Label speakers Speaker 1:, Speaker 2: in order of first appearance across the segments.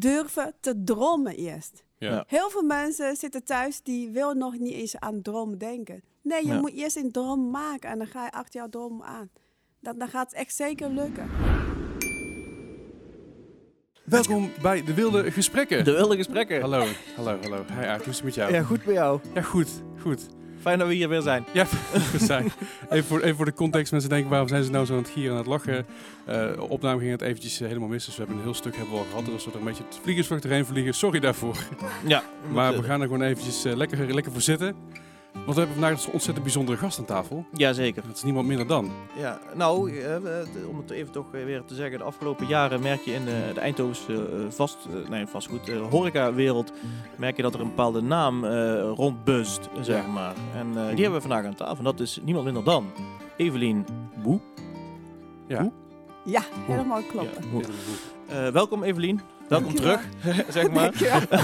Speaker 1: durven te dromen eerst.
Speaker 2: Ja.
Speaker 1: Heel veel mensen zitten thuis die wil nog niet eens aan dromen denken. Nee, je
Speaker 2: Ja.
Speaker 1: moet eerst een droom maken en dan ga je achter jouw droom aan. Dan, dan gaat het echt zeker lukken.
Speaker 2: Welkom bij De Wilde Gesprekken.
Speaker 3: De wilde gesprekken.
Speaker 2: Hallo, hallo, hallo. Hi Aart, hoe is het met jou?
Speaker 3: Ja, goed bij jou.
Speaker 2: Ja, goed, goed.
Speaker 3: Fijn dat we hier weer zijn.
Speaker 2: Ja, we zijn. Even voor, even voor de context, mensen denken waarom zijn ze nou zo aan het gieren en aan het lachen. Eh, opname ging het eventjes eh, helemaal mis, dus we hebben een heel stuk hebben we al gehad. Er was er een beetje het vliegersvlucht erheen vliegen, sorry daarvoor.
Speaker 3: Ja. eh,
Speaker 2: Maar we gaan er gewoon eventjes eh, lekker, lekker voor zitten. Want we hebben vandaag dus een ontzettend bijzondere gast aan tafel.
Speaker 3: Jazeker.
Speaker 2: Dat is niemand minder dan.
Speaker 3: Ja, nou, eh, we- de- om het even toch eh, weer te zeggen, de afgelopen jaren merk je in eh, de Eindhovense eh, vast, eh, nee, vastgoed, eh, horecawereld, merk je dat er een bepaalde naam eh rondbust, zeg
Speaker 2: Ja. Mm.
Speaker 3: maar. En eh, die hebben we vandaag aan tafel en dat is niemand minder dan Evelien Boe.
Speaker 2: Ja.
Speaker 3: Boe?
Speaker 1: Ja, helemaal klopt.
Speaker 3: Ja, Boe. Eh, welkom Evelien, welkom
Speaker 1: Dankjewel.
Speaker 3: terug, zeg maar.
Speaker 1: Dankjewel.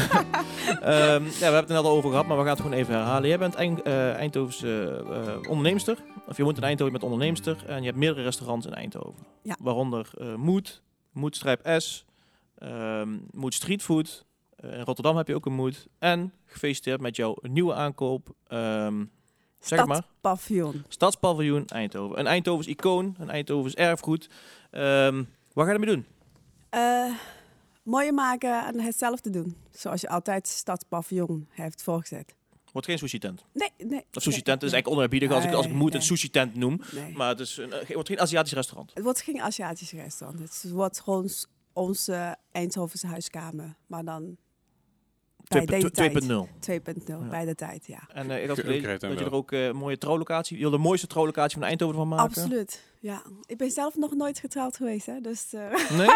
Speaker 3: Ehm, ja, we hebben het er net al over gehad, maar we gaan het gewoon even herhalen. Jij bent Eind- eh, Eindhovense eh, onderneemster. Of je woont in Eindhoven, je bent onderneemster. En je hebt meerdere restaurants in Eindhoven.
Speaker 1: Ja.
Speaker 3: Waaronder eh Moed, Moed Strijp S, ehm Moed Street Food. Eh, in Rotterdam heb je ook een Moed. En gefeliciteerd met jouw nieuwe aankoop. ehm, zeg het maar.
Speaker 1: Stadpaviljoen.
Speaker 3: Stadspaviljoen Eindhoven. Een Eindhovens icoon, een Eindhovens erfgoed. Ehm wat ga je ermee doen?
Speaker 1: Eh, mooier maken en hetzelfde doen. Zoals je altijd stadspaviljoen heeft voorgezet.
Speaker 3: Wordt geen sushi tent.
Speaker 1: Nee, nee.
Speaker 3: Of sushi tent is eigenlijk onherbiedig als ik, als ik
Speaker 1: Nee,
Speaker 3: Moed een
Speaker 1: nee.
Speaker 3: sushi tent noem.
Speaker 1: Nee. nee.
Speaker 3: Maar het, is een, eh, het wordt geen Aziatisch restaurant.
Speaker 1: Het wordt geen Aziatisch restaurant. Het wordt gewoon s- onze Eindhovense huiskamer. Maar dan bij deze tijd.
Speaker 3: 2.0.
Speaker 1: 2.0,
Speaker 3: Ja.
Speaker 1: bij de tijd, ja.
Speaker 3: En eh, ik had
Speaker 2: Oké,
Speaker 3: gelezen
Speaker 2: oké, dan
Speaker 3: dat je
Speaker 2: wel.
Speaker 3: er ook eh, een mooie trouwlocatie, je wil de mooiste trouwlocatie van Eindhoven van maken.
Speaker 1: Absoluut, ja. Ik ben zelf nog nooit getrouwd geweest, hè. Dus eh,
Speaker 3: Nee?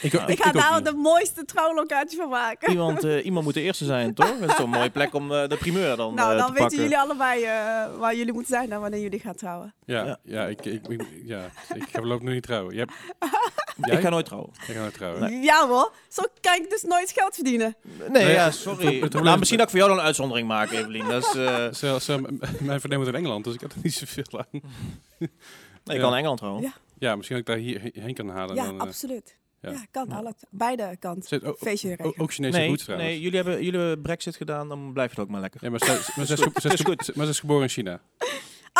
Speaker 2: Ik-
Speaker 1: ik ga
Speaker 2: ook
Speaker 1: daar
Speaker 2: niet.
Speaker 1: de mooiste trouwlocatie van maken.
Speaker 3: Iemand, eh, iemand moet de eerste zijn, toch? Dat is toch een mooie plek om eh, de primeur dan,
Speaker 1: nou,
Speaker 3: eh,
Speaker 1: dan
Speaker 3: te
Speaker 1: weten
Speaker 3: pakken.
Speaker 1: jullie allebei eh, waar jullie moeten zijn en wanneer jullie gaan trouwen.
Speaker 2: Ja, ja.
Speaker 3: Ja.
Speaker 2: ik, ik, ik- ja, ik ga voorlopig nog niet trouwen. Jij,
Speaker 3: Ik ga nooit trouwen.
Speaker 2: ik ga nooit trouwen.
Speaker 1: Ja hoor, zo kan ik dus nooit geld verdienen.
Speaker 3: Nee,
Speaker 2: Nee,
Speaker 3: ja,
Speaker 2: het- het
Speaker 3: sorry.
Speaker 2: probleem is-
Speaker 3: nou, misschien dat ik voor jou dan een uitzondering maak, Evelien. Dat is, eh,
Speaker 2: Zo, zo, m- mijn vernemer in Engeland, dus ik had er niet zoveel aan.
Speaker 3: nee, ik
Speaker 2: Ja.
Speaker 3: kan in Engeland trouwen.
Speaker 1: Ja.
Speaker 2: Ja, misschien dat ik daar hier heen kan halen.
Speaker 1: ja,
Speaker 2: dan, eh,
Speaker 1: absoluut.
Speaker 2: ja.
Speaker 1: Ja, kan.
Speaker 3: Ja.
Speaker 1: Alle, beide kanten.
Speaker 2: zit- oh,
Speaker 1: Feestje
Speaker 2: oh,
Speaker 1: regelen.
Speaker 2: ook Chinese
Speaker 3: Nee,
Speaker 2: roots trouwens.
Speaker 3: nee jullie, hebben, jullie hebben Brexit gedaan, dan blijf je het ook maar lekker.
Speaker 2: Ja, maar ze- maar ze is ge- ze is
Speaker 3: Is goed.
Speaker 2: ge- maar ze is geboren in China.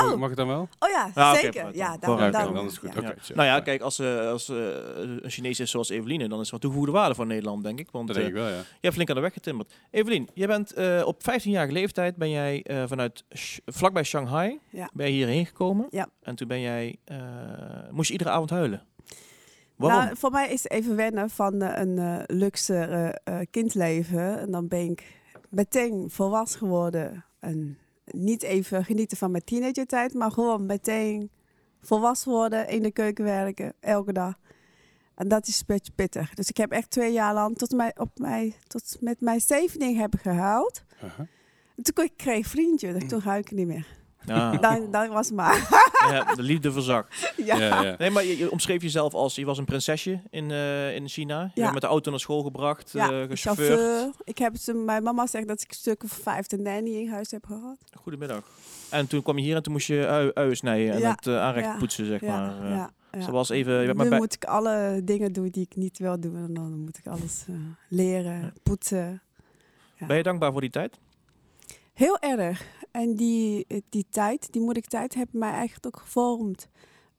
Speaker 1: Oh.
Speaker 2: Mag- Mag het dan wel?
Speaker 1: Oh ja,
Speaker 3: Ah, oké,
Speaker 1: zeker.
Speaker 3: vooruit dan.
Speaker 1: ja,
Speaker 3: Vooruit
Speaker 1: daarom.
Speaker 3: dan,
Speaker 2: oké,
Speaker 1: daarom
Speaker 2: dan
Speaker 1: ja.
Speaker 2: is het goed.
Speaker 1: Ja.
Speaker 2: Oké,
Speaker 3: Ja.
Speaker 2: chill.
Speaker 3: Nou ja,
Speaker 2: Fijn.
Speaker 3: kijk, als, eh, als eh, een Chinees is zoals Eveline, dan is het wat toegevoegde waarde voor Nederland, denk ik. Want
Speaker 2: Dat
Speaker 3: eh,
Speaker 2: denk ik wel, ja.
Speaker 3: Je hebt flink aan de weg getimmerd. Evelien, jij bent eh, op 15-jarige leeftijd ben jij eh, vanuit Sh- vlakbij Shanghai
Speaker 1: Ja.
Speaker 3: ben je hierheen gekomen.
Speaker 1: Ja.
Speaker 3: En toen ben jij eh, moest je iedere avond huilen. Waarom?
Speaker 1: Nou, voor mij is het even wennen van eh, een eh, luxe eh, eh, kindleven. En dan ben ik meteen volwassen geworden. En niet even genieten van mijn teenagertijd, maar gewoon meteen volwassen worden, in de keuken werken, elke dag. En dat is een beetje pittig. Dus ik heb echt twee jaar lang tot, mij, op mij, tot met mijn zevening hebben gehuild.
Speaker 2: Aha.
Speaker 1: En toen kon ik- kreeg ik vriendje, dus toen huil ik niet meer.
Speaker 3: Ah,
Speaker 1: Dan, dan was het maar.
Speaker 3: ja, de liefde verzak.
Speaker 1: Ja.
Speaker 2: Ja, ja.
Speaker 3: Nee, maar je, je omschreef jezelf als je was een prinsesje in, eh, in China. Je
Speaker 1: Ja.
Speaker 3: bent met de auto naar school gebracht, eh, gechauffeurd.
Speaker 1: chauffeur. Ik heb ze, mijn mama zegt dat ik stukken van vijf de nanny in huis heb gehad.
Speaker 3: Goedemiddag. En toen kwam je hier en toen moest je ui, uien snijden en
Speaker 1: Ja,
Speaker 3: het eh, aanrecht
Speaker 1: ja,
Speaker 3: poetsen, zeg
Speaker 1: ja,
Speaker 3: maar. eh.
Speaker 1: ja, ja.
Speaker 3: Dus dat was even. Je bent
Speaker 1: nu
Speaker 3: maar bij,
Speaker 1: moet ik alle dingen doen die ik niet wil doen. En dan moet ik alles eh, leren, poetsen. ja.
Speaker 3: ben je dankbaar voor die tijd?
Speaker 1: Heel erg. En die, eh, die tijd, die moeilijke tijd, heeft mij eigenlijk ook gevormd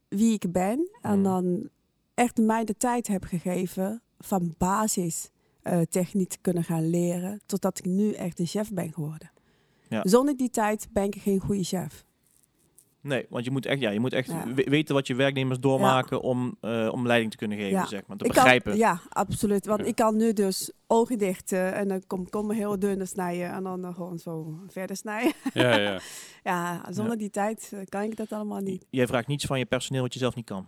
Speaker 1: wie ik ben. En
Speaker 3: Mm.
Speaker 1: dan echt mij de tijd heb gegeven van basis eh, techniek te kunnen gaan leren. Totdat ik nu echt een chef ben geworden.
Speaker 3: Ja.
Speaker 1: Zonder die tijd ben ik geen goede chef.
Speaker 3: Nee, want je moet echt, ja, je moet echt
Speaker 1: Ja.
Speaker 3: we- weten wat je werknemers doormaken om, eh, om leiding te kunnen geven,
Speaker 1: Ja.
Speaker 3: zeg maar. Te
Speaker 1: Ik kan-
Speaker 3: begrijpen.
Speaker 1: ja, absoluut. Want
Speaker 2: Ja. ik
Speaker 1: ik kan nu dus ogen dichten en dan kom, kom heel dunne snijden en dan gewoon zo verder snijden.
Speaker 2: ja, ja.
Speaker 1: Ja,
Speaker 3: zonder
Speaker 1: zonder die tijd eh, kan ik dat allemaal niet.
Speaker 3: J- Jij vraagt niets van je personeel wat je zelf niet kan.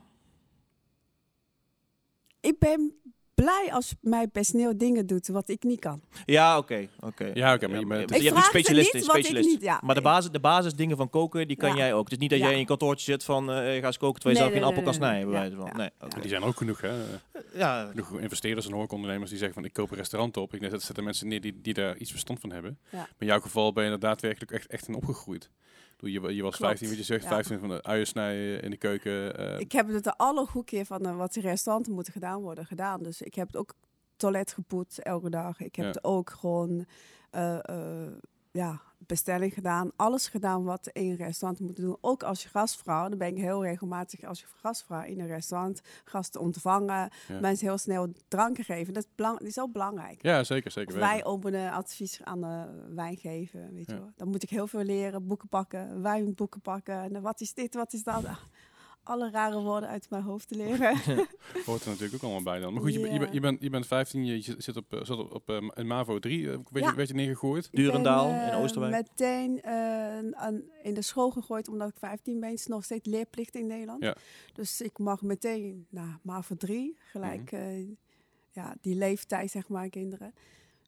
Speaker 1: Ik ben blij als mijn personeel dingen doet wat ik niet kan.
Speaker 3: Ja, oké. oké.
Speaker 2: Ja, oké, maar je bent-
Speaker 3: hebt-
Speaker 1: Ik
Speaker 3: Dus je hebt
Speaker 1: vraag
Speaker 3: een
Speaker 1: ze
Speaker 3: specialist.
Speaker 1: niet
Speaker 3: een
Speaker 1: wat ik
Speaker 3: specialist.
Speaker 1: niet- ja.
Speaker 3: Maar de, basis, de basisdingen van koken, die kan
Speaker 1: Ja.
Speaker 3: jij ook. Het is niet dat
Speaker 1: Ja.
Speaker 3: jij in een kantoortje zit van eh, ga eens koken terwijl je
Speaker 1: Nee,
Speaker 3: zelf geen
Speaker 1: nee,
Speaker 3: appel kan
Speaker 1: nee,
Speaker 3: snijden.
Speaker 1: nee,
Speaker 3: bij
Speaker 1: nee.
Speaker 3: wijze van.
Speaker 1: Ja.
Speaker 3: Nee, oké.
Speaker 2: En Die zijn er ook genoeg, hè.
Speaker 3: ja.
Speaker 2: Genoeg investeerders en horecaondernemers die zeggen van ik koop een restaurant op. Ik net zetten mensen neer die, die daar iets verstand van hebben.
Speaker 1: Ja.
Speaker 2: Maar in jouw geval ben je er daadwerkelijk echt, echt in opgegroeid. Ik bedoel, Je, je was
Speaker 1: Klopt,
Speaker 2: 15, wat je zegt,
Speaker 1: ja.
Speaker 2: 15 van de uien snijden in de keuken. eh,
Speaker 1: Ik heb het de alle goede keer van eh, wat in restauranten moeten gedaan worden gedaan. Dus ik heb het ook toilet gepoetst elke dag. Ik heb
Speaker 2: Ja.
Speaker 1: het ook gewoon eh, eh, ja, bestelling gedaan. Alles gedaan wat in een restaurant moet doen. Ook als je gastvrouw. Dan ben ik heel regelmatig als je gastvrouw in een restaurant. Gasten ontvangen.
Speaker 2: Ja.
Speaker 1: Mensen heel snel dranken geven. Dat is, belang, dat is ook belangrijk.
Speaker 2: Ja, zeker, zeker
Speaker 1: Of
Speaker 2: weten.
Speaker 1: wij openen advies aan de wijn geven, weet
Speaker 2: Ja.
Speaker 1: je wel. Dan moet ik heel veel leren, boeken pakken, wijnboeken pakken. En dan wat is dit, wat is dat? Ah, Alle rare woorden uit mijn hoofd te leren.
Speaker 2: Hoort er natuurlijk ook allemaal bij dan. Maar goed, je, ben-
Speaker 1: Ja.
Speaker 2: je, ben- je, bent, je bent 15, je zit- zit op, eh, zat op, op eh, een MAVO 3, eh, werd,
Speaker 1: Ja.
Speaker 2: je, werd je neergegooid.
Speaker 1: Ik ben,
Speaker 3: Durendaal
Speaker 1: eh,
Speaker 3: in Oosterwijk.
Speaker 1: meteen eh, aan- in de school gegooid omdat ik 15 ben. Het is nog steeds leerplicht in Nederland.
Speaker 2: Ja.
Speaker 1: Dus ik mag meteen nou, naar MAVO 3, gelijk
Speaker 3: Mhm.
Speaker 1: eh, ja, die leeftijd, zeg maar, kinderen.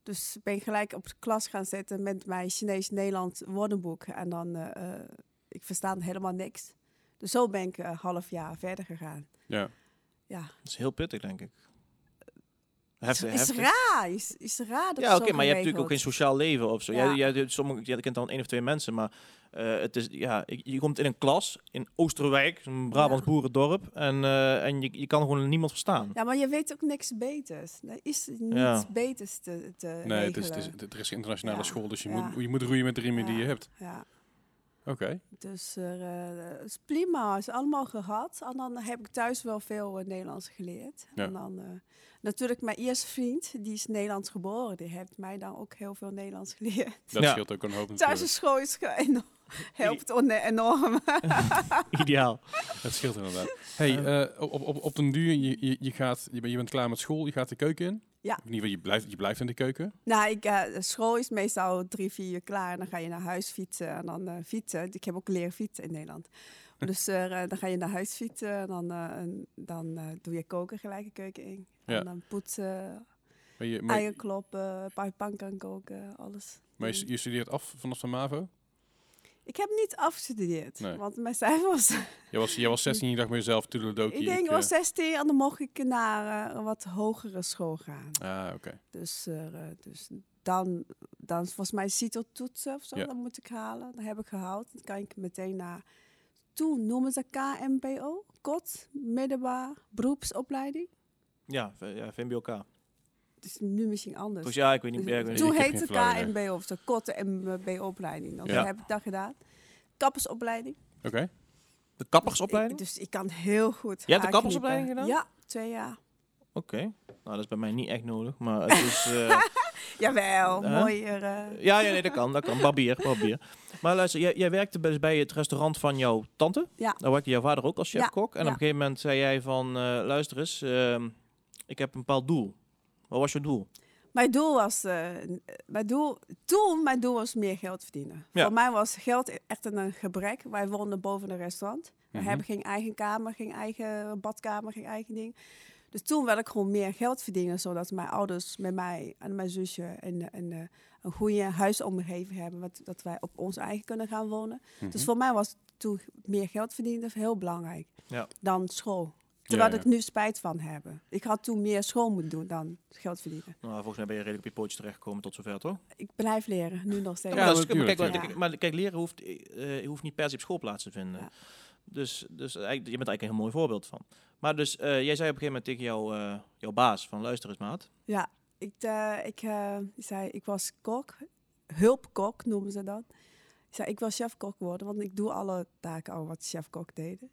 Speaker 1: Dus ben ik gelijk op de klas gaan zetten met mijn Chinees-Nederlands woordenboek. En dan, eh, eh, ik versta helemaal niks. Dus zo ben ik een half jaar verder gegaan.
Speaker 2: Ja.
Speaker 1: Ja,
Speaker 3: Dat is heel pittig, denk ik.
Speaker 1: is,
Speaker 3: Heftig,
Speaker 1: is
Speaker 3: heftig.
Speaker 1: raar. Is, is raar dat
Speaker 3: Ja,
Speaker 1: het
Speaker 3: oké,
Speaker 1: zo
Speaker 3: maar je hebt natuurlijk ook geen
Speaker 1: geregeld
Speaker 3: sociaal leven of zo.
Speaker 1: Ja.
Speaker 3: Jij, jij, doet sommige, jij kent dan één of twee mensen, maar eh, het is, ja, je je komt in een klas in Oosterwijk, een Brabants boerendorp, en, eh, en je, je kan gewoon niemand verstaan.
Speaker 1: Ja, maar je weet ook niks beters. Er is niets
Speaker 3: Ja.
Speaker 1: beters te, te
Speaker 2: Nee, het is, dus-
Speaker 1: regelen.
Speaker 2: het is, het- er is internationale
Speaker 1: Eh, Ja.
Speaker 2: school, dus je,
Speaker 1: Ja.
Speaker 2: moet, je moet roeien met de riemen die je
Speaker 1: Ja.
Speaker 2: hebt.
Speaker 1: Ja,
Speaker 2: Oké.
Speaker 1: dus er, eh, het is prima. Het is allemaal gehad. En dan heb ik thuis wel veel eh, Nederlands geleerd.
Speaker 2: Ja.
Speaker 1: En dan eh, natuurlijk mijn eerste vriend, die is Nederlands geboren. Die heeft mij dan ook heel veel Nederlands geleerd.
Speaker 2: Dat
Speaker 3: Ja.
Speaker 2: scheelt ook een hoop
Speaker 1: Thuis
Speaker 2: natuurlijk.
Speaker 1: is school is ge- enorm- helpt one- enorm.
Speaker 3: Ideaal.
Speaker 2: Dat scheelt inderdaad. Hey, eh, op, op, op den duur, je, je, je, gaat, je, bent, je bent klaar met school, je gaat de keuken in.
Speaker 1: Ja.
Speaker 2: Of in ieder geval, je blijft, je blijft in de keuken.
Speaker 1: Nou, ik, eh, de school is meestal drie, vier uur klaar. En dan ga je naar huis fietsen en dan eh, fietsen. Ik heb ook leren fietsen in Nederland.
Speaker 2: Hm.
Speaker 1: Dus eh, dan ga je naar huis fietsen en dan, eh, en dan eh, doe je koken gelijk de keuken in.
Speaker 2: Ja.
Speaker 1: En dan poetsen,
Speaker 2: Maar je, maar,
Speaker 1: eieren kloppen, pa- pankan koken, alles.
Speaker 2: maar je,
Speaker 1: doen.
Speaker 2: je studeert af vanaf de MAVO.
Speaker 1: Ik heb niet afgestudeerd,
Speaker 2: Nee.
Speaker 1: want mijn cijfers...
Speaker 2: Jij was, jij was 16 je dacht bij jezelf, toedeledokie.
Speaker 1: ik denk, ik
Speaker 2: eh,
Speaker 1: was 16 en dan mocht ik naar eh, een wat hogere school gaan.
Speaker 2: Ah, oké.
Speaker 1: Dus, eh, eh, dus dan, dan is volgens mij CITO-toetsen of zo,
Speaker 2: Ja.
Speaker 1: dat moet ik halen. Dat heb ik gehaald. Dan kan ik meteen naar, toen noemen ze KMBO, kot, middelbaar, beroepsopleiding.
Speaker 3: Ja, v- ja, VMBOK.
Speaker 1: Dus Het is nu misschien anders.
Speaker 3: Dus ja, ik weet niet
Speaker 1: Dus
Speaker 3: meer. ik weet
Speaker 1: toen
Speaker 2: Ik heb
Speaker 1: heette
Speaker 2: geen flauw idee.
Speaker 1: KMBO of zo, kot MBO-opleiding. Dan
Speaker 2: Ja.
Speaker 1: heb ik dat gedaan. Kappersopleiding.
Speaker 2: Oké.
Speaker 3: niet. De kappersopleiding?
Speaker 1: Ik- dus ik kan heel goed
Speaker 3: Jij hebt de
Speaker 1: haarknippen.
Speaker 3: kappersopleiding gedaan?
Speaker 1: Ja, twee jaar.
Speaker 3: Oké. Nou, dat is bij mij niet echt nodig, maar het is... eh,
Speaker 1: Jawel,
Speaker 3: Hè?
Speaker 1: mooier. eh,
Speaker 3: ja, ja, nee, dat kan, dat kan. Barbier, barbier. Maar luister, jij, jij werkte bij, bij het restaurant van jouw tante.
Speaker 1: Ja.
Speaker 3: Daar werkte jouw vader ook als
Speaker 1: Ja,
Speaker 3: chefkok. En op
Speaker 1: ja.
Speaker 3: een gegeven moment zei jij van, eh, luister eens, ehm, ik heb een bepaald doel. Wat was je doel?
Speaker 1: Mijn doel was, eh, mijn doel, toen mijn doel was meer geld verdienen.
Speaker 3: Ja.
Speaker 1: Voor mij was geld echt een gebrek. Wij woonden boven een restaurant. We
Speaker 2: Mhm.
Speaker 1: hebben geen eigen kamer, geen eigen badkamer, geen eigen ding. Dus toen wilde ik gewoon meer geld verdienen, zodat mijn ouders met mij en mijn zusje een, een, eh, een goede huisomgeving hebben, wat, dat wij op ons eigen kunnen gaan wonen.
Speaker 2: Mhm.
Speaker 1: Dus voor mij was toen meer geld verdienen heel belangrijk
Speaker 3: Ja.
Speaker 1: dan school. Terwijl
Speaker 2: Ja, ja.
Speaker 1: ik nu spijt van heb. Ik had toen meer school moeten doen dan geld verdienen.
Speaker 3: Nou, volgens mij ben je redelijk op je pootje terechtgekomen tot zover, toch?
Speaker 1: Ik blijf leren, nu nog steeds.
Speaker 2: Ja,
Speaker 3: maar,
Speaker 2: dat
Speaker 3: is- maar kijk,
Speaker 2: natuurlijk,
Speaker 3: maar-
Speaker 1: ja.
Speaker 3: maar kijk, leren hoeft, eh, eh, hoeft niet per se op school plaats te vinden.
Speaker 1: Ja.
Speaker 3: Dus, dus eigenlijk, je bent eigenlijk een heel mooi voorbeeld van. Maar dus, eh, jij zei op een gegeven moment tegen jouw, eh, jouw baas van, luister eens maat.
Speaker 1: Ja, ik, eh, ik eh, zei, ik was kok, hulpkok noemen ze dat. Ik zei, ik wil chefkok worden, want ik doe alle taken al wat chefkok deden.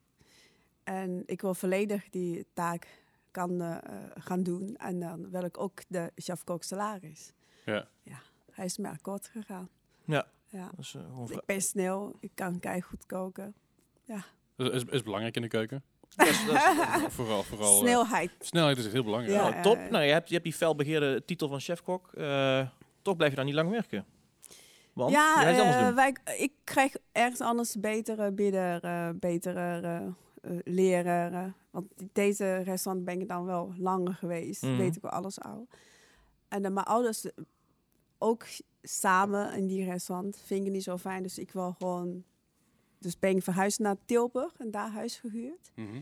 Speaker 1: En ik wil volledig die taak kan, eh, eh, gaan doen. En dan wil ik ook de chefkok salaris.
Speaker 2: Ja.
Speaker 1: Hij is me akkoord gegaan.
Speaker 3: Ja.
Speaker 1: ja.
Speaker 3: Dus, eh, gewoon vra-
Speaker 1: Ik ben snel, ik kan keihard goed koken.
Speaker 2: Dat is, is belangrijk in de keuken.
Speaker 3: dat is- dat is-
Speaker 2: Vooral, vooral eh,
Speaker 1: Snelheid.
Speaker 2: snelheid is heel belangrijk.
Speaker 1: Ja.
Speaker 3: Nou, top. Nou, je hebt, je hebt die felbegeerde titel van chefkok. Eh, toch blijf je daar niet lang werken. Want
Speaker 1: ja,
Speaker 3: jij is anders
Speaker 1: eh,
Speaker 3: doen.
Speaker 1: wij, ik kreeg ergens anders betere bieden, eh, betere eh, eh, leren. eh, want in deze restaurant ben ik dan wel langer geweest.
Speaker 3: Mhm.
Speaker 1: Weet ik wel alles al. En dan mijn ouders eh, ook samen in die restaurant vind ik niet zo fijn. Dus ik wil gewoon... Dus ben ik verhuisd naar Tilburg en daar huis gehuurd.
Speaker 2: Mhm.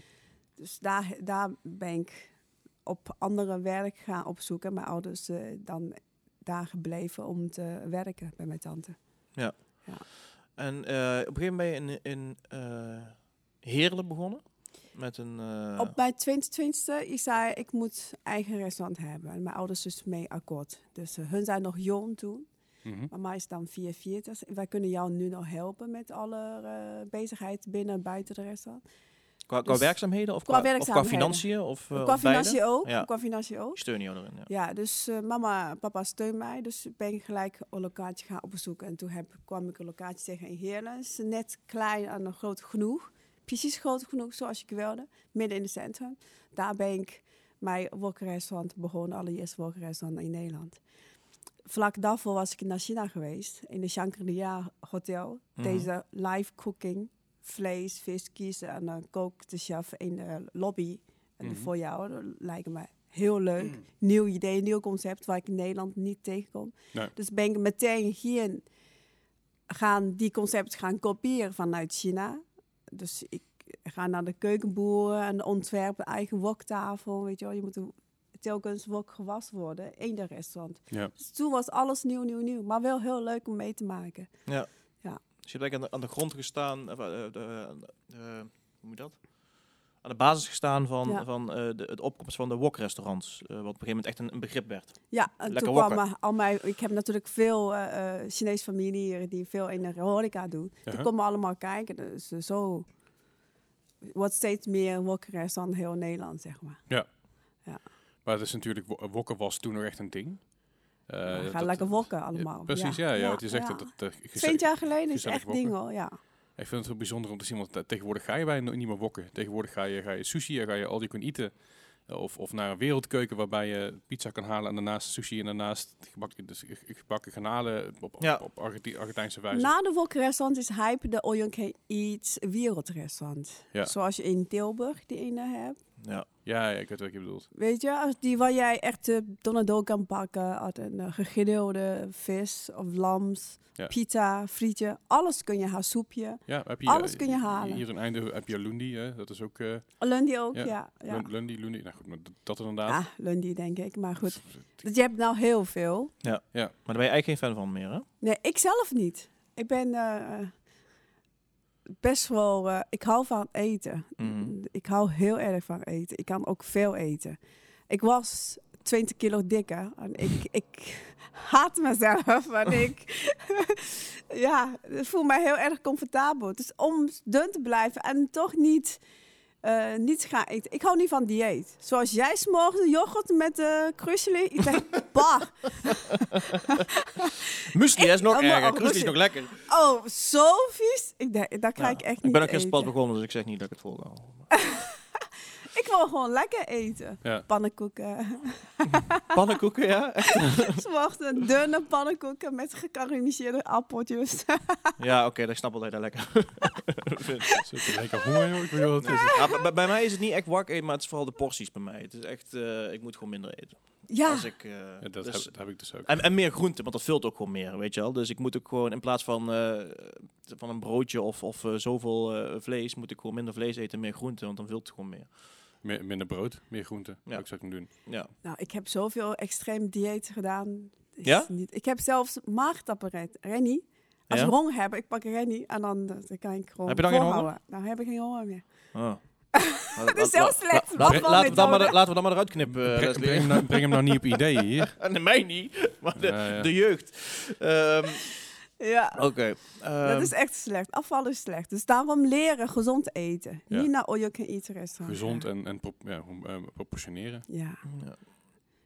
Speaker 1: Dus daar, daar ben ik op andere werk gaan opzoeken. Mijn ouders eh, dan daar gebleven om te werken bij mijn tante.
Speaker 3: En eh, op een gegeven moment ben je in, in eh, Heerlen begonnen. Met een... eh,
Speaker 1: Op mijn 22e, ik zei, ik moet eigen restaurant hebben. En mijn ouders dus mee akkoord. Dus eh, hun zijn nog jong toen.
Speaker 2: Mhm.
Speaker 1: Mama is dan 44. Wij kunnen jou nu nog helpen met alle eh, bezigheid binnen en buiten de restaurant.
Speaker 3: qua, qua
Speaker 1: dus-
Speaker 3: werkzaamheden of
Speaker 1: qua
Speaker 3: qua, Of qua
Speaker 1: werkzaamheden.
Speaker 3: financiën? Of, eh,
Speaker 1: qua
Speaker 3: of beide?
Speaker 1: financiën ook.
Speaker 3: Ja.
Speaker 1: Qua financiën ook.
Speaker 3: Ik steun jou erin, ja.
Speaker 1: Ja, dus eh, mama en papa steun mij. Dus ben ik gelijk een locatie gaan opzoeken. En toen heb, kwam ik een locatie tegen in Heerlen. Het is net klein en nog groot genoeg. Precies groot genoeg zoals ik wilde. Midden in het centrum. Daar ben ik mijn wokkerrestaurant begonnen. Allereerst wokkerrestaurant in Nederland. Vlak daarvoor was ik naar China geweest. In de Shangri-La Hotel.
Speaker 3: Mhm.
Speaker 1: Deze live cooking. Vlees, vis kiezen. En dan kookt de chef in de lobby. En
Speaker 2: Mhm.
Speaker 1: voor jou, dat lijkt me heel leuk. Nieuw idee, nieuw concept waar ik in Nederland niet tegenkom.
Speaker 2: Nee.
Speaker 1: Dus ben ik meteen hier gaan die concept gaan kopiëren vanuit China. Dus ik ga naar de keukenboeren en ontwerp een eigen woktafel. Weet je wel, je moet een- telkens wok gewassen worden in de restaurant.
Speaker 2: Ja.
Speaker 1: Dus toen was alles nieuw, nieuw, nieuw. Maar wel heel leuk om mee te maken.
Speaker 3: Dus je hebt eigenlijk aan de, aan de grond gestaan, of, eh, de, de- hoe noem je dat? Aan de basis gestaan van,
Speaker 1: Ja.
Speaker 3: van eh, de, de opkomst van de wokrestaurants. eh, wat op een gegeven moment echt een, een begrip werd.
Speaker 1: Ja, en
Speaker 3: Lekker
Speaker 1: toen
Speaker 3: wokken.
Speaker 1: kwam eh, al mijn... Ik heb natuurlijk veel eh eh, Chinese familie hier die veel in de horeca doen.
Speaker 2: Ja.
Speaker 1: Toen komen allemaal kijken. Dus eh, zo wordt steeds meer wokkeres dan heel Nederland, zeg maar.
Speaker 2: Maar het is natuurlijk, wo- eh, wokken was toen nog echt een ding. Eh,
Speaker 1: We gaan
Speaker 2: dat-
Speaker 1: lekker wokken
Speaker 2: Ja,
Speaker 1: allemaal.
Speaker 2: precies, ja. ja, het is echt...
Speaker 1: ja.
Speaker 2: Dat, dat, eh, geze-
Speaker 1: 20 jaar geleden is
Speaker 2: gezellig
Speaker 1: echt ding
Speaker 2: wokken.
Speaker 1: hoor, ja.
Speaker 2: Ik vind het heel bijzonder om te zien, want te- tegenwoordig ga je bijna niet meer wokken. Tegenwoordig ga je, ga je sushi, en ga je al die kunt eten. Eh, Of, of naar een wereldkeuken waarbij je pizza kan halen en daarnaast sushi en daarnaast gebakken, dus ge- gebakken granalen op, op,
Speaker 3: Ja.
Speaker 2: op Argenti- Argentijnse wijze.
Speaker 1: Na de wokkerrestaurant is hype de All You Can Eat wereldrestaurant.
Speaker 2: Ja.
Speaker 1: Zoals je in Tilburg die ene hebt.
Speaker 3: Ja.
Speaker 2: ja, ja, ik weet wat je bedoelt.
Speaker 1: Weet je, als die waar jij echt de donado kan pakken. Uit een eh, gegrilde vis of lams,
Speaker 2: Ja.
Speaker 1: pizza, frietje. Alles kun je haar soepje.
Speaker 2: Ja, heb je,
Speaker 1: Alles
Speaker 2: eh,
Speaker 1: kun je halen.
Speaker 2: Hier in Einde heb je Lundi, hè? dat is ook eh,
Speaker 1: Lundy ook,
Speaker 2: Ja.
Speaker 1: ja. ja, ja.
Speaker 2: Lun- Lundi, Lundi. Nou goed, maar d- dat inderdaad.
Speaker 1: Lundy denk ik, maar goed. Dus je hebt nou heel veel.
Speaker 3: Maar daar ben je eigenlijk geen fan van meer, hè?
Speaker 1: Nee, ik zelf niet. Ik ben eh, best wel. eh, ik hou van eten.
Speaker 3: Mhm.
Speaker 1: Ik hou heel erg van eten. Ik kan ook veel eten. Ik was 20 kilo dikker. En ik, ik haat mezelf. En ik. ja, ik voel me heel erg comfortabel. Dus om dun te blijven en toch niet. eh niet gaan eten. Ik hou niet van dieet. Zoals jij s'morgens yoghurt met eh krusjelen. Ik denk, bah,
Speaker 3: Muesli is nog
Speaker 1: Oh, maar-
Speaker 3: erger.
Speaker 1: oh,
Speaker 3: Muesli is
Speaker 1: Muesli.
Speaker 3: nog lekker.
Speaker 1: Oh, zo vies. Ik denk, daar krijg
Speaker 3: Ja.
Speaker 1: ik echt niet
Speaker 3: ik ben ook
Speaker 1: te
Speaker 3: gisteren pas
Speaker 1: eten.
Speaker 3: begonnen, dus ik zeg niet dat ik het volhoud.
Speaker 1: Ik wil gewoon lekker eten.
Speaker 2: Ja.
Speaker 1: Pannenkoeken.
Speaker 3: Pannenkoeken, ja?
Speaker 1: Ze mochten dunne pannenkoeken met gekarameliseerde appeltjes.
Speaker 3: ja, oké, dat ik snap wel dat je dat lekker vindt.
Speaker 2: Zit er lekker honger, joh. Ik weet wel wat het is.
Speaker 3: Ja, bij- bij, bij mij is het niet echt wak eten, maar het is vooral de porties bij mij. Het is echt, eh, ik moet gewoon minder eten.
Speaker 1: ja,
Speaker 3: Als ik, eh,
Speaker 2: Ja, dat, heb,
Speaker 3: dus-
Speaker 2: dat heb ik dus ook.
Speaker 3: En, en meer groente, want dat vult ook gewoon meer, weet je wel. Dus ik moet ook gewoon in plaats van, eh, van een broodje of, of eh, zoveel eh, vlees, moet ik gewoon minder vlees eten en meer groente, want dan vult het gewoon meer.
Speaker 2: Meer- minder brood, meer groente.
Speaker 3: Ja.
Speaker 2: Dat zou ik hem doen.
Speaker 3: Ja.
Speaker 1: nou, ik heb zoveel extreem dieet gedaan. Is
Speaker 3: Ja?
Speaker 1: Niet. Ik heb zelfs maagtapperet. Rennie. Als
Speaker 3: Ja?
Speaker 1: we honger hebben, ik pak Rennie en dan, eh, dan kan ik gewoon
Speaker 3: Heb je dan geen
Speaker 1: volhouden. Nou heb ik geen honger meer.
Speaker 3: Oh.
Speaker 1: Dat is heel slecht.
Speaker 3: Laat-
Speaker 1: Wat voor
Speaker 3: laten, we dan maar,
Speaker 1: methode?
Speaker 3: laten we dan maar eruit knippen, eh,
Speaker 2: Breng, breng hem
Speaker 3: Leslie.
Speaker 2: nou, breng hem nou niet op ideeën hier.
Speaker 3: Nee, mij niet, maar de,
Speaker 2: Ja, ja.
Speaker 3: de jeugd. Ehm,
Speaker 1: Ja.
Speaker 3: Oké. ehm,
Speaker 1: dat is echt slecht. Afval is slecht. Dus daarom leren gezond eten.
Speaker 2: Ja.
Speaker 1: Niet naar all you can eat restaurant.
Speaker 2: Gezond
Speaker 1: Oh, Ja.
Speaker 2: en, en pro- ja, hoe- eh, proportioneren.
Speaker 1: Ja.
Speaker 3: ja.
Speaker 2: Ja,